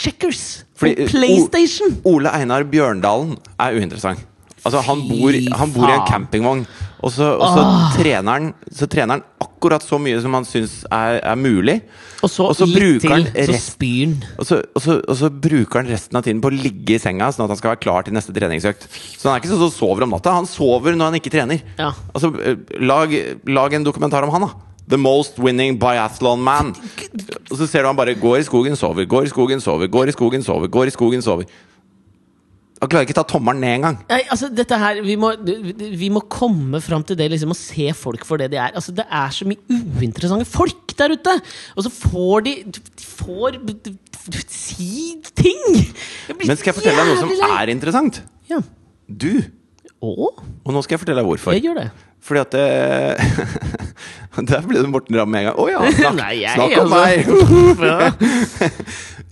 S1: checkers
S2: Fordi, eh,
S1: på PlayStation!
S2: O- Ole Einar Bjørndalen er uinteressant. Altså, han bor,
S1: Fy
S2: han bor i
S1: faen.
S2: en
S1: Ah.
S2: campingvogn, og så, og så, trener, han, så trener han akkurat så mye som han syns er, er mulig.
S1: Og så,
S2: og så
S1: litt
S2: bruker han
S1: til, så
S2: rest-
S1: spyr han.
S2: Og så, og, så, og så bruker han resten av tiden på å ligge i senga, sånn at han skal være klar til neste treningsøkt. Så han er ikke sånn som sover om natta. Han sover når han ikke trener.
S1: Ja.
S2: Altså, eh, lag, lag en dokumentar om han, da. The most winning biathlon man. Og så ser du han bare går i skogen, sover, går i skogen, sover, går i skogen, sover. går i skogen, sover Han klarer ikke ta tommelen ned engang.
S1: Nei, altså dette her Vi må, vi må komme fram til det liksom, og se folk for det de er. Altså Det er så mye uinteressante folk der ute! Og så får de De får si ting! Jeg blir
S2: Men skal jeg fortelle deg noe som
S1: jævlig lei.
S2: er interessant?
S1: Ja.
S2: Du.
S1: Å?
S2: Og nå skal jeg fortelle deg hvorfor.
S1: Jeg gjør det.
S2: Fordi at det, Der ble det Morten Ramm med en gang. Å ja! Snakk,
S1: Nei, jeg,
S2: snakk om meg!
S1: altså. Ja.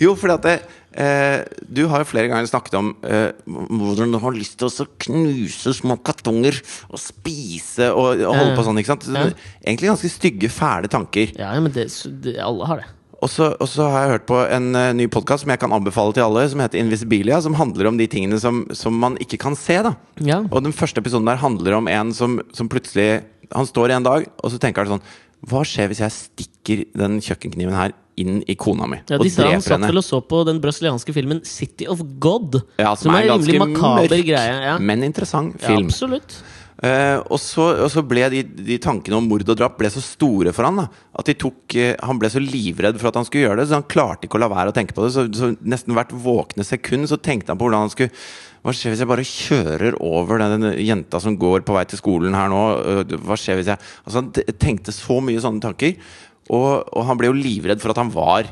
S2: Jo, fordi at det, eh, du har jo flere ganger snakket om eh, hvordan du har lyst til å så knuse små kartonger og spise og, og holde på sånn. ikke sant? Så,
S1: Mm. Ja.
S2: Egentlig ganske stygge, fæle tanker.
S1: Ja, men det, det, alle har det.
S2: Og så, og så har jeg hørt på en eh, ny podkast som jeg kan anbefale til alle, som heter Invisibilia, som handler om de tingene som, som man ikke kan se. da
S1: Ja.
S2: Og den første episoden der handler om en som, som plutselig Han står en dag, og så tenker han sånn Hva skjer hvis jeg stikker den kjøkkenkniven her inn i kona mi
S1: Ja,
S2: og
S1: de sa han
S2: dreper
S1: satt
S2: henne?
S1: vel og så på den brasilianske filmen City of God.
S2: Ja, som, er
S1: en
S2: en
S1: rimelig
S2: ganske
S1: makaber
S2: mørk,
S1: greie. Ja.
S2: men interessant
S1: Ja,
S2: film.
S1: absolutt.
S2: Eh, og, så, og så ble de, de tankene om mord og drap ble så store for han da, at de tok, eh, han ble så livredd for at han skulle gjøre det, så han klarte ikke å la være å tenke på det. Så, så nesten hvert våkne sekund så tenkte han på hvordan han skulle Hva skjer hvis jeg bare kjører over den den jenta som går på vei til skolen her nå? Øh, Hva skjer hvis jeg Altså Han t- tenkte så mye sånne tanker, og, og han ble jo livredd for at han var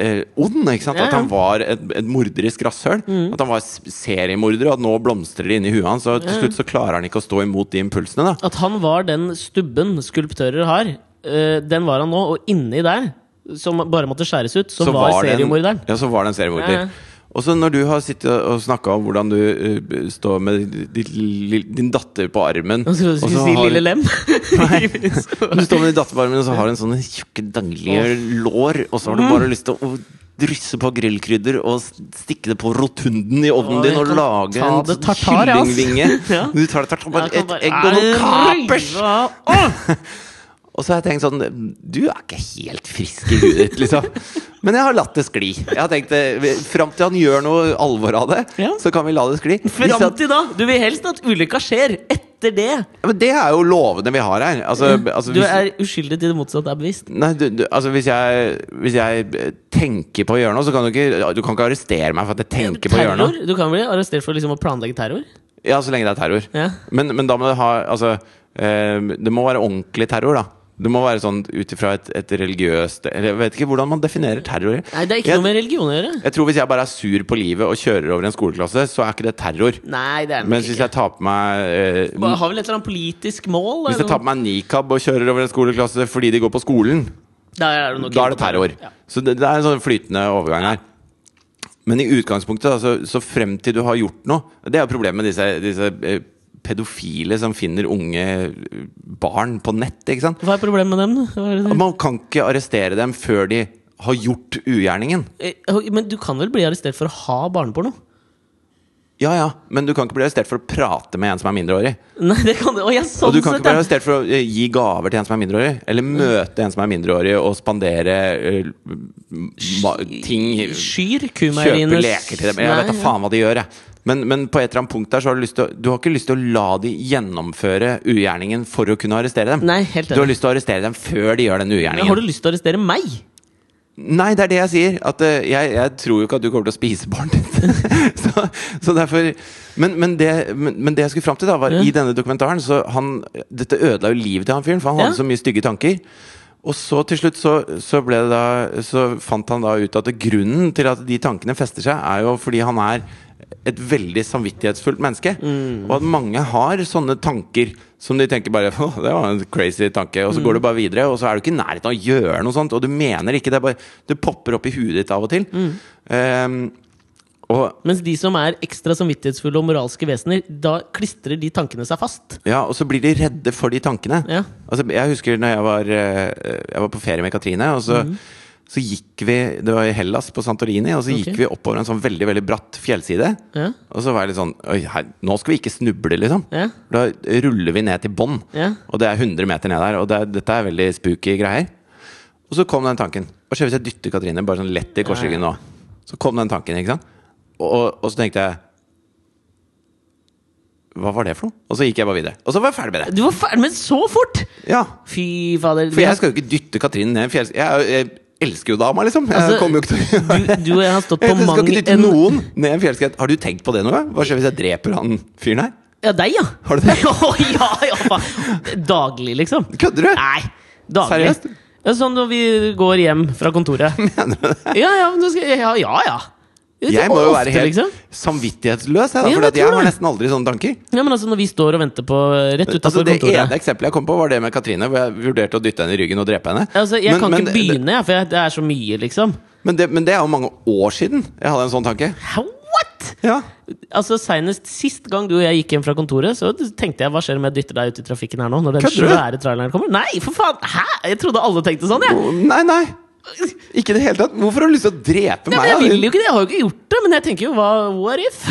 S2: eh, ond. ikke sant?
S1: Ja,
S2: At
S1: ja.
S2: han var et, et morderisk rasshøl.
S1: Mm.
S2: At han var s- seriemorder, og at nå blomstrer det inni huet hans. Og til slutt så klarer han ikke å stå imot de impulsene. da
S1: At han var den stubben skulptører har, eh, den var han nå, og inni der, som bare måtte skjæres ut, så, var,
S2: det en-
S1: seriemorderen.
S2: Ja, så var det en seriemorder.
S1: Ja, ja.
S2: Og så når du har sittet og snakka om hvordan du eh, står med ditt, lill- din datter på armen
S1: Jeg trodde du
S2: og
S1: skulle
S2: så
S1: si
S2: har-
S1: Lille Lem.
S2: Du står med din datter på armen, og så har du en sånne tjukke, danglige lår, og så har du
S1: Mm.
S2: bare lyst til å drysse på grillkrydder og s- stikke det på rotunden i ovnen
S1: Å,
S2: din
S1: jeg
S2: og
S1: kan
S2: lage
S1: ta
S2: en
S1: det
S2: sånn
S1: tartar, jeg, ass.
S2: kyllingvinge.
S1: Ja.
S2: Du tar det tartar,
S1: Jeg
S2: bare
S1: kan
S2: et
S1: bare-
S2: egg og noen
S1: Nei,
S2: kapers!
S1: hva- Åh!
S2: Og så har jeg tenkt sånn Du er ikke helt frisk i huet ditt, liksom. Men jeg har latt det skli. Jeg har tenkt eh, Fram til han gjør noe alvor av det,
S1: Ja.
S2: så kan vi la det skli. Hvis
S1: Fram
S2: at-
S1: til da! Du vil helst at ulykka skjer. Etter det.
S2: Ja, men det er jo lovene vi har her. Altså, altså,
S1: Mm. Du
S2: hvis,
S1: er uskyldig til det motsatte er bevist.
S2: nei, du, du, altså hvis, jeg, hvis jeg eh, tenker på å gjøre noe, så kan du ikke Du kan ikke arrestere meg for at jeg tenker på å gjøre noe.
S1: Terror? Du kan bli arrestert for liksom å planlegge terror?
S2: Ja, så lenge det er terror.
S1: Ja.
S2: Men, men da må det ha Altså, eh, det må være ordentlig terror, da. Det må være sånn ut ifra et, et religiøst Eller jeg vet ikke hvordan man definerer terror.
S1: Nei, det er ikke
S2: Jeg-
S1: noe med religion å gjøre.
S2: Jeg tror Hvis jeg bare er sur på livet og kjører over en skoleklasse, så er ikke det terror.
S1: Nei, det er nok
S2: Mens hvis
S1: ikke.
S2: jeg tar på meg eh,
S1: Bare Har vel et eller annet politisk mål?
S2: Hvis jeg
S1: eller
S2: tar på meg nikab og kjører over en skoleklasse fordi de går på skolen,
S1: noe? Da er det, nok
S2: da er
S1: ikke
S2: det terror.
S1: Ja.
S2: Så det, det er en sånn flytende overgang her. Men i utgangspunktet, da, så- så frem til du har gjort noe Det er jo problemet med disse, disse eh, pedofile som finner unge eh, barn på nett. ikke sant?
S1: Hva er problemet med dem? da? Hva er det?
S2: At Man kan ikke arrestere dem før de har gjort ugjerningen.
S1: Eh, Men du kan vel bli arrestert for å ha barneporno?
S2: Ja ja, men du kan ikke bli arrestert for å prate med en som er mindreårig.
S1: Nei, det kan du. Å, ja, sånn
S2: Og du kan ikke
S1: sett,
S2: bli
S1: ja.
S2: arrestert for å eh, gi gaver til en som er mindreårig, eller møte en som er mindreårig og spandere eh, ma- ting
S1: Skyr kumeierines
S2: Kjøpe leker til dem. Jeg vet da
S1: Nei,
S2: faen hva de gjør, jeg. Men, men på et eller annet punkt der så har du lyst til å Du har ikke lyst til å la de gjennomføre ugjerningen for å kunne arrestere dem.
S1: Nei, helt
S2: Du har
S1: enig.
S2: lyst til å arrestere dem før de gjør den
S1: Men Har
S2: ugjerningen.
S1: du lyst til å arrestere meg?
S2: Nei, det er det jeg sier. At eh, jeg, jeg tror jo ikke at du kommer til å spise barnet ditt. så, så derfor men, men, det, men, men det jeg skulle fram til, da var i denne dokumentaren så han, Dette ødela jo livet til han fyren, for han hadde
S1: Ja.
S2: så mye stygge tanker. Og så til slutt så, så, ble det da, så fant han da ut at grunnen til at de tankene fester seg, er jo fordi han er et veldig samvittighetsfullt menneske. Og at mange har sånne tanker som de tenker bare Å, det var en crazy tanke. Og så går du bare videre, og så er du ikke i nærheten av å gjøre noe sånt. Og du mener ikke det. er Bare, det popper opp i huet ditt av og til. Ehm, og
S1: Mens de som er ekstra samvittighetsfulle og moralske vesener, da klistrer de tankene seg fast.
S2: Ja, og så blir de redde for de tankene.
S1: Ja.
S2: Altså, jeg husker når jeg var, eh, jeg var på ferie med Katrine, og
S1: Mhm.
S2: så, så gikk vi Det var i Hellas, på Santorini, og så
S1: Ok.
S2: gikk vi oppover en sånn veldig veldig bratt fjellside.
S1: Ja.
S2: Og så var jeg litt sånn Oi, her, nå skal vi ikke snuble, liksom.
S1: Ja.
S2: Da ruller vi ned til bånn,
S1: Ja.
S2: og det er 100 meter ned der. Og det, er- dette er veldig spooky greier. Og så kom den tanken. Hva skjer hvis jeg dytter Katrine bare sånn lett i korsryggen nå? Så kom den tanken, ikke sant? Og, og, og så tenkte jeg Hva var det for noe? Og så gikk jeg bare videre. Og så var jeg ferdig med det.
S1: Du var ferdig, men så fort!
S2: Ja,
S1: Fy fader.
S2: For jeg skal jo ikke dytte Katrine ned en fjells... Jeg, jeg elsker jo dama, liksom. Jeg
S1: Altså,
S2: kommer jo ikke til å gjøre
S1: du,
S2: det.
S1: du og jeg har stått på
S2: Jeg skal
S1: mang
S2: ikke dytte
S1: en
S2: noen ned en fjellskrent. Har du tenkt på det noe? Hva skjer hvis jeg dreper han fyren her?
S1: Ja, deg, ja.
S2: Har du det?
S1: ja, ja, ja. faen. Daglig, liksom.
S2: Kødder du?
S1: Nei. Daglig.
S2: Seriøst?
S1: Ja, sånn når vi går hjem fra kontoret. Mener du det? Ja, ja. men du skal, ja, ja, ja. det
S2: Jeg må jo
S1: ofte,
S2: være helt
S1: liksom.
S2: samvittighetsløs, jeg, da,
S1: Ja, men
S2: for at
S1: jeg
S2: jeg
S1: tror
S2: har
S1: det.
S2: nesten aldri sånne tanker.
S1: Ja, men altså Når vi står og venter på rett
S2: Altså,
S1: utafor
S2: det
S1: kontoret
S2: ene eksempelet jeg kom på, var det med Katrine, hvor jeg vurderte å dytte henne i ryggen og drepe henne.
S1: Altså, Jeg
S2: Men-
S1: kan
S2: men
S1: ikke
S2: det-
S1: begynne, jeg, for jeg, det er så mye, liksom.
S2: Men det, men det er jo mange år siden jeg hadde en sånn tanke.
S1: How, what?!
S2: Ja.
S1: Altså Senest sist gang du og jeg gikk hjem fra kontoret, Så tenkte jeg hva skjer om jeg dytter deg ut i trafikken her nå? Når den
S2: Kødder du?
S1: svære traileren kommer Nei, for faen! Hæ?! Jeg trodde alle tenkte sånn, jeg!
S2: Nei, nei. Ikke i det hele tatt. Hvorfor har du lyst til å drepe
S1: Nei, men
S2: meg?
S1: jeg
S2: da?
S1: vil jo ikke det! Jeg har jo ikke gjort det! Men jeg tenker jo hva What if?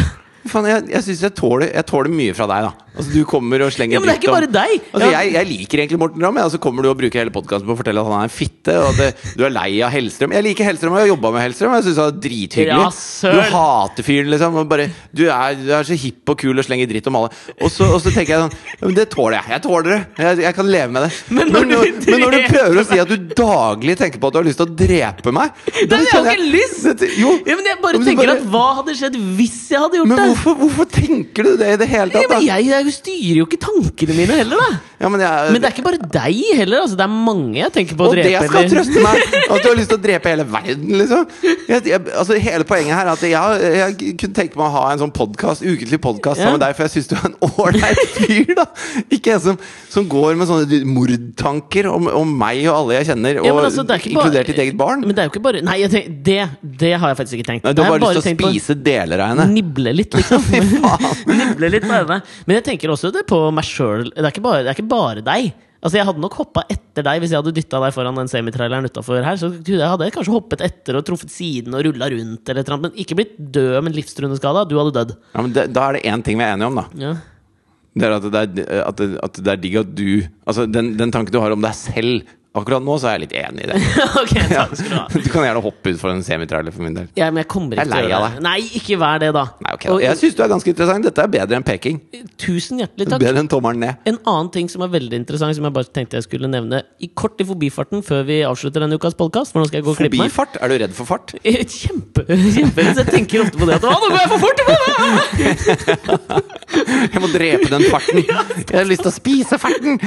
S2: Faen, jeg, jeg synes jeg tåler, jeg tåler mye fra deg, da. Altså, du kommer og slenger
S1: Ja, men det er
S2: dritt
S1: ikke
S2: om-
S1: bare deg.
S2: Altså,
S1: Ja.
S2: jeg, jeg liker egentlig Morten Ramm, jeg, og så kommer du og bruker hele podkasten på å fortelle at han er en fitte, og at eh, du er lei av Hellstrøm. Jeg liker Hellstrøm, og jeg har jobba med Hellstrøm, og jeg syns han er
S1: Ja,
S2: drithyggelig.
S1: søren.
S2: du hater fyren, liksom. Og bare, du, er, du er så hipp og kul og slenger dritt om alle. Og så, og så tenker jeg sånn ja, Men det tåler jeg. Jeg tåler det. Jeg, jeg kan leve med det.
S1: Men når du
S2: men når du
S1: dreper
S2: prøver å si at du daglig tenker på at du har lyst til å drepe meg
S1: Nei, jeg
S2: da
S1: har
S2: kjenner
S1: ikke lyst!
S2: Dette- Jo.
S1: Ja, men jeg
S2: Ja,
S1: bare
S2: men så
S1: tenker at hva hadde skjedd hvis jeg hadde gjort
S2: men
S1: det?
S2: hvorfor, hvorfor tenker du det i det hele
S1: Ja,
S2: tatt?
S1: men
S2: Da?
S1: jeg, jeg styrer jo ikke tankene mine heller, da!
S2: Ja, men jeg,
S1: Men det er ikke bare deg heller. Altså, det er mange jeg tenker på å
S2: og
S1: drepe.
S2: det skal
S1: eller-
S2: trøste meg! At du har lyst til å drepe hele verden, liksom! Jeg, jeg, altså, hele poenget her er at jeg, jeg kunne tenke meg å ha en sånn podcast, ukentlig podkast
S1: Ja.
S2: sammen med deg, for jeg syns du er en ålreit fyr, da! Ikke en som, som går med sånne mordtanker om, om meg og alle jeg kjenner, og
S1: Ja, men altså, det er ikke bare-
S2: inkludert ditt eget barn.
S1: Men det er jo ikke bare Nei, jeg tenk, det, det har jeg faktisk ikke tenkt.
S2: Nei, du har
S1: Jeg
S2: bare lyst til
S1: tenkt
S2: å
S1: på-
S2: spise deler av henne.
S1: Nible litt, liksom. nible litt på henne. Men jeg tenker også det på meg sjøl. Det, er ikke bare- det er ikke bare deg. Altså Jeg hadde nok hoppa etter deg hvis jeg hadde dytta deg foran den semitraileren utafor her. Så gud, jeg hadde kanskje hoppet etter og truffet siden og rulla rundt. Eller et eller annet, men ikke blitt død, men livstruendeskada. Du hadde dødd.
S2: Ja, men det, da er det én ting vi er enige om, da.
S1: Ja.
S2: Det er at det er, at det, at det er digg at du Altså, den, den tanken du har om deg selv akkurat nå, så er jeg litt enig i det.
S1: ok, takk skal du ha.
S2: Du kan gjerne hoppe ut for en semitrailer for min del.
S1: Ja, men jeg kommer ikke
S2: Jeg er lei
S1: til å gjøre
S2: av
S1: det. Nei, ikke vær det, da.
S2: Nei, ok da. Jeg syns du er ganske interessant. Dette er bedre enn peking.
S1: Og, tusen hjertelig takk.
S2: Bedre enn tommelen ned.
S1: En annen ting som er veldig interessant, som jeg bare tenkte jeg skulle nevne i kort i forbifarten før vi avslutter denne ukas podkast. For nå skal jeg gå og klippe meg.
S2: Forbifart? Er du redd for fart?
S1: Eh, Kjempe, kjempe Jeg tenker ofte på det at Å, nå går jeg for fort!
S2: Jeg må drepe den farten! Jeg har lyst til å spise farten!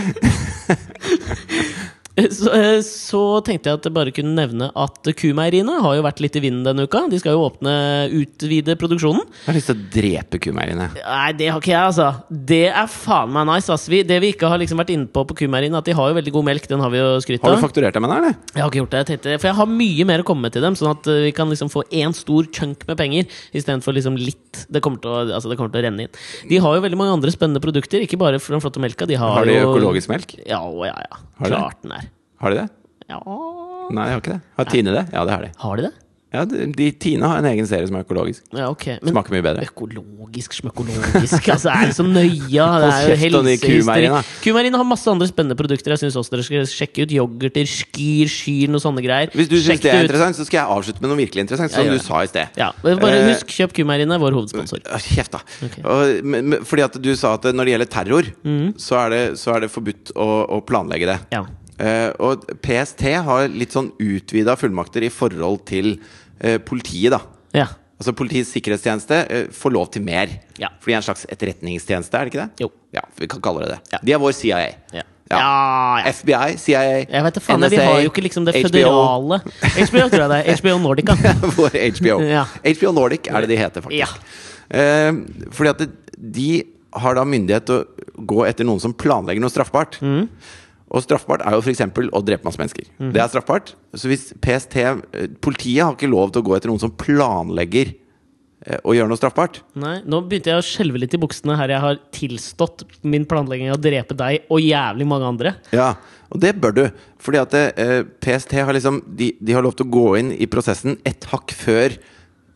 S1: Så, eh, så tenkte jeg at jeg bare kunne nevne at kumeieriene har jo vært litt i vinden denne uka. De skal jo åpne, utvide produksjonen.
S2: Jeg har lyst til å drepe kumeierne.
S1: Nei, det har ikke jeg, altså. Det er faen meg nice. Ass. Vi, det vi ikke har liksom vært inne på på kumeieriene, at de har jo veldig god melk. Den har vi jo skrytt
S2: Har du
S1: av.
S2: fakturert dem ennå, eller?
S1: Jeg har ikke gjort det, jeg tenkte, for jeg har mye mer å komme med til dem, sånn at eh, vi kan liksom få én stor chunk med penger istedenfor liksom litt. Det kommer, til å, altså det kommer til å renne inn. De har jo veldig mange andre spennende produkter, ikke bare for den flotte melka. De har,
S2: Har de
S1: jo,
S2: økologisk melk?
S1: Ja, å, ja, ja.
S2: Har de?
S1: Klart den er.
S2: Har de det?
S1: Ja
S2: Nei, de har ikke det. Har Tine det? Ja, det har de.
S1: Har de det?
S2: Ja, de, de- Tine har en egen serie som er økologisk.
S1: Ja, ok. Men
S2: Smaker mye bedre.
S1: økologisk, smøkologisk Altså, er det så nøye? Det
S2: Hold
S1: er jo
S2: kjeft om de
S1: helsehistorie.
S2: kumeierne.
S1: Kumeierne har masse andre spennende produkter. Jeg syns også dere skal sjekke ut yoghurter, skyr, skyr, noe sånne greier.
S2: Hvis du
S1: Sjekk
S2: syns det er
S1: ut.
S2: interessant, så skal jeg avslutte med noe virkelig interessant,
S1: Ja,
S2: som
S1: gjør
S2: du
S1: det.
S2: sa i sted.
S1: Ja, men bare
S2: Eh,
S1: husk, kjøp kumeierne, vår hovedsponsor.
S2: Ja, Kjeft, da.
S1: Ok. Mm.
S2: Og, men, men, fordi at du sa at når det gjelder terror, så, er det, så er det forbudt å, å planlegge det.
S1: Ja.
S2: Eh, og PST har litt sånn utvida fullmakter i forhold til eh, politiet, da.
S1: Ja.
S2: Altså Politiets sikkerhetstjeneste eh, får lov til mer.
S1: Ja.
S2: For de er en slags etterretningstjeneste, er det ikke det?
S1: Jo.
S2: Ja, vi kan kalle det det.
S1: Ja.
S2: De er vår CIA.
S1: Ja.
S2: Ja.
S1: Ja, ja.
S2: FBI, CIA,
S1: Jeg vet da faen, de har jo ikke liksom det
S2: HBO.
S1: føderale HBO, tror jeg det er. HBO Nordica.
S2: Vår HBO.
S1: Ja.
S2: HBO Nordic er det de heter, faktisk.
S1: Ja.
S2: Eh, fordi at det, de har da myndighet til å gå etter noen som planlegger noe straffbart.
S1: Mm.
S2: Og straffbart er jo f.eks. å drepe masse mennesker. Det er straffbart. Så hvis PST eh, Politiet har ikke lov til å gå etter noen som planlegger eh, å gjøre noe straffbart.
S1: Nei, nå begynte jeg å skjelve litt i buksene her jeg har tilstått min planlegging av å drepe deg og jævlig mange andre.
S2: Ja, og det bør du. Fordi at eh, PST har liksom de, de har lov til å gå inn i prosessen et hakk før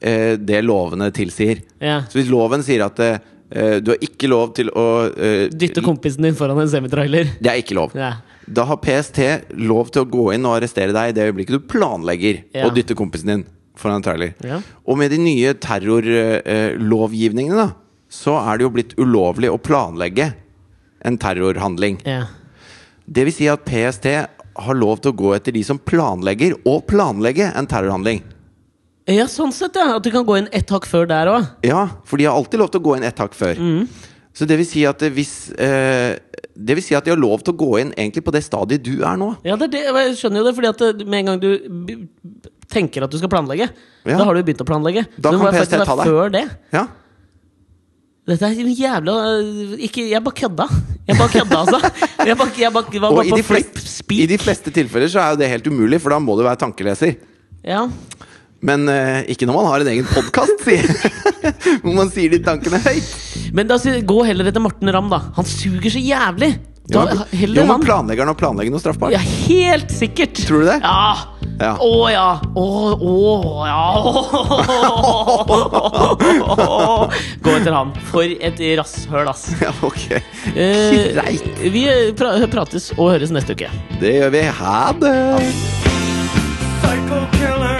S2: eh, det lovene tilsier.
S1: Ja.
S2: Så hvis loven sier at eh, du har ikke lov til å eh,
S1: Dytte kompisen din foran en semitrailer.
S2: Det er ikke lov.
S1: Ja.
S2: Da har PST lov til å gå inn og arrestere deg i det øyeblikket du planlegger
S1: Ja.
S2: å dytte kompisen din foran en trailer.
S1: Ja.
S2: Og med de nye terrorlovgivningene, da, så er det jo blitt ulovlig å planlegge en terrorhandling.
S1: Ja.
S2: Det vil si at PST har lov til å gå etter de som planlegger å planlegge en terrorhandling.
S1: ja, sånn sett, ja. At du kan gå inn ett hakk før der òg.
S2: Ja, for de har alltid lov til å gå inn ett hakk før.
S1: Mm.
S2: Så det vil si at eh, hvis eh, Det vil si at de har lov til å gå inn egentlig på det stadiet du er nå.
S1: eh, Ja, det er det. jeg skjønner jo det, fordi at det- med en gang du b- b- tenker at du skal planlegge.
S2: Ja.
S1: Da har du begynt å planlegge. Så det
S2: Da kan
S1: må jeg
S2: PST
S1: faktisk
S2: ta
S1: være
S2: deg.
S1: før det.
S2: Ja.
S1: Dette er en jævla øh, ikke, Jeg bare kødda. Jeg bare kødda, altså. Jeg bare, jeg bare, var
S2: Og
S1: bare
S2: i
S1: på
S2: de,
S1: flip
S2: flest, i
S1: speak.
S2: de fleste tilfeller så er jo det helt umulig, for da må du være tankeleser.
S1: Ja.
S2: Men eh, ikke når man har en egen podkast, hvor man sier de tankene høyt.
S1: Men da, sier- gå heller etter Morten Ramm, da. Han suger så jævlig!
S2: Jo,
S1: Da, heller
S2: men
S1: han.
S2: planlegger han å planlegge noe straffbart?
S1: Ja, helt sikkert!
S2: Tror du det?
S1: Ja.
S2: Ja.
S1: Å ja! Å, å ja! Gå etter han. For et rasshøl, ass.
S2: Ja, ok.
S1: Eh,
S2: Greit.
S1: vi pra prates og høres neste uke.
S2: Det gjør vi. Ha det.
S3: Psycho killer.